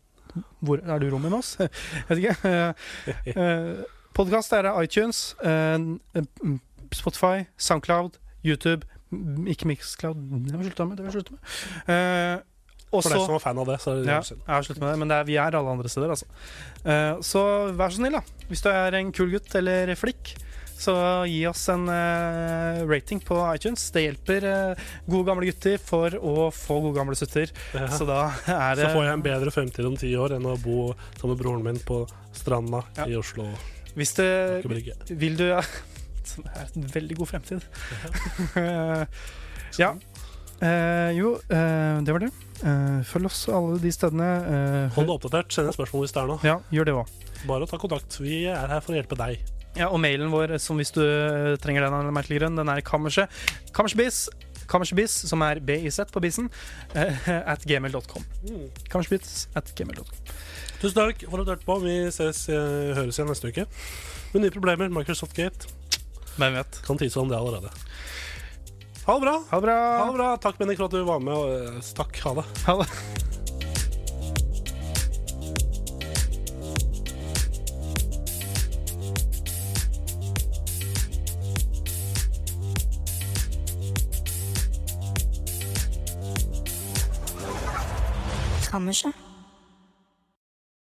Speaker 3: hvor, Er du i rommet med oss? Jeg vet ikke. Uh, podkast er det iTunes, eh, eh, Spotify, Soundcloud, YouTube m- Ikke Mixcloud, det har vi slutta med. Det har vi sluttet med. Eh, og
Speaker 2: For deg
Speaker 3: så
Speaker 2: som var fan av det, så er det
Speaker 3: ja,
Speaker 2: ja.
Speaker 3: jeg har sluttet med det, men det er, vi er alle andre steder, altså. Eh, så vær så snill, da. Hvis du er en kul gutt eller flikk, så gi oss en eh, rating på iTunes. Det hjelper eh, gode gamle gutter for å få gode gamle sutter. Så da er
Speaker 2: Så
Speaker 3: det
Speaker 2: får jeg en bedre fremtid om ti år enn å bo sammen med broren min på stranda
Speaker 3: Ja.
Speaker 2: i Oslo.
Speaker 3: Hvis det
Speaker 2: Ikke brygge.
Speaker 3: Vil du Som er en veldig god fremtid. Eh, ja. Eh, jo, eh, det var det. Eh, følg oss alle de stedene. eh,
Speaker 2: Hold deg oppdatert. Send et spørsmål hvis det er noe.
Speaker 3: ja, gjør det òg.
Speaker 2: Bare å ta kontakt. Vi er her for å hjelpe deg.
Speaker 3: Ja, og mailen vår, som hvis du eh, trenger den av en merkelig grunn, den er kammerset. Kammersbiss, kammersbiss, som er BIZ på bissen, eh, at gmail.com.
Speaker 2: Mm.
Speaker 3: Kammersbiss at gmail.com.
Speaker 2: Tusen takk for at du hørte på. Vi ses, eh, høres igjen neste uke. Med nye problemer. Microsoft Gate
Speaker 3: Hvem vet.
Speaker 2: kan tise om det allerede. Ha det bra.
Speaker 3: Ha det bra!
Speaker 2: Ha det bra. Takk, Bendik, for at du var med. Og, eh, takk. Ha det.
Speaker 3: Ha det.
Speaker 5: Kammerset.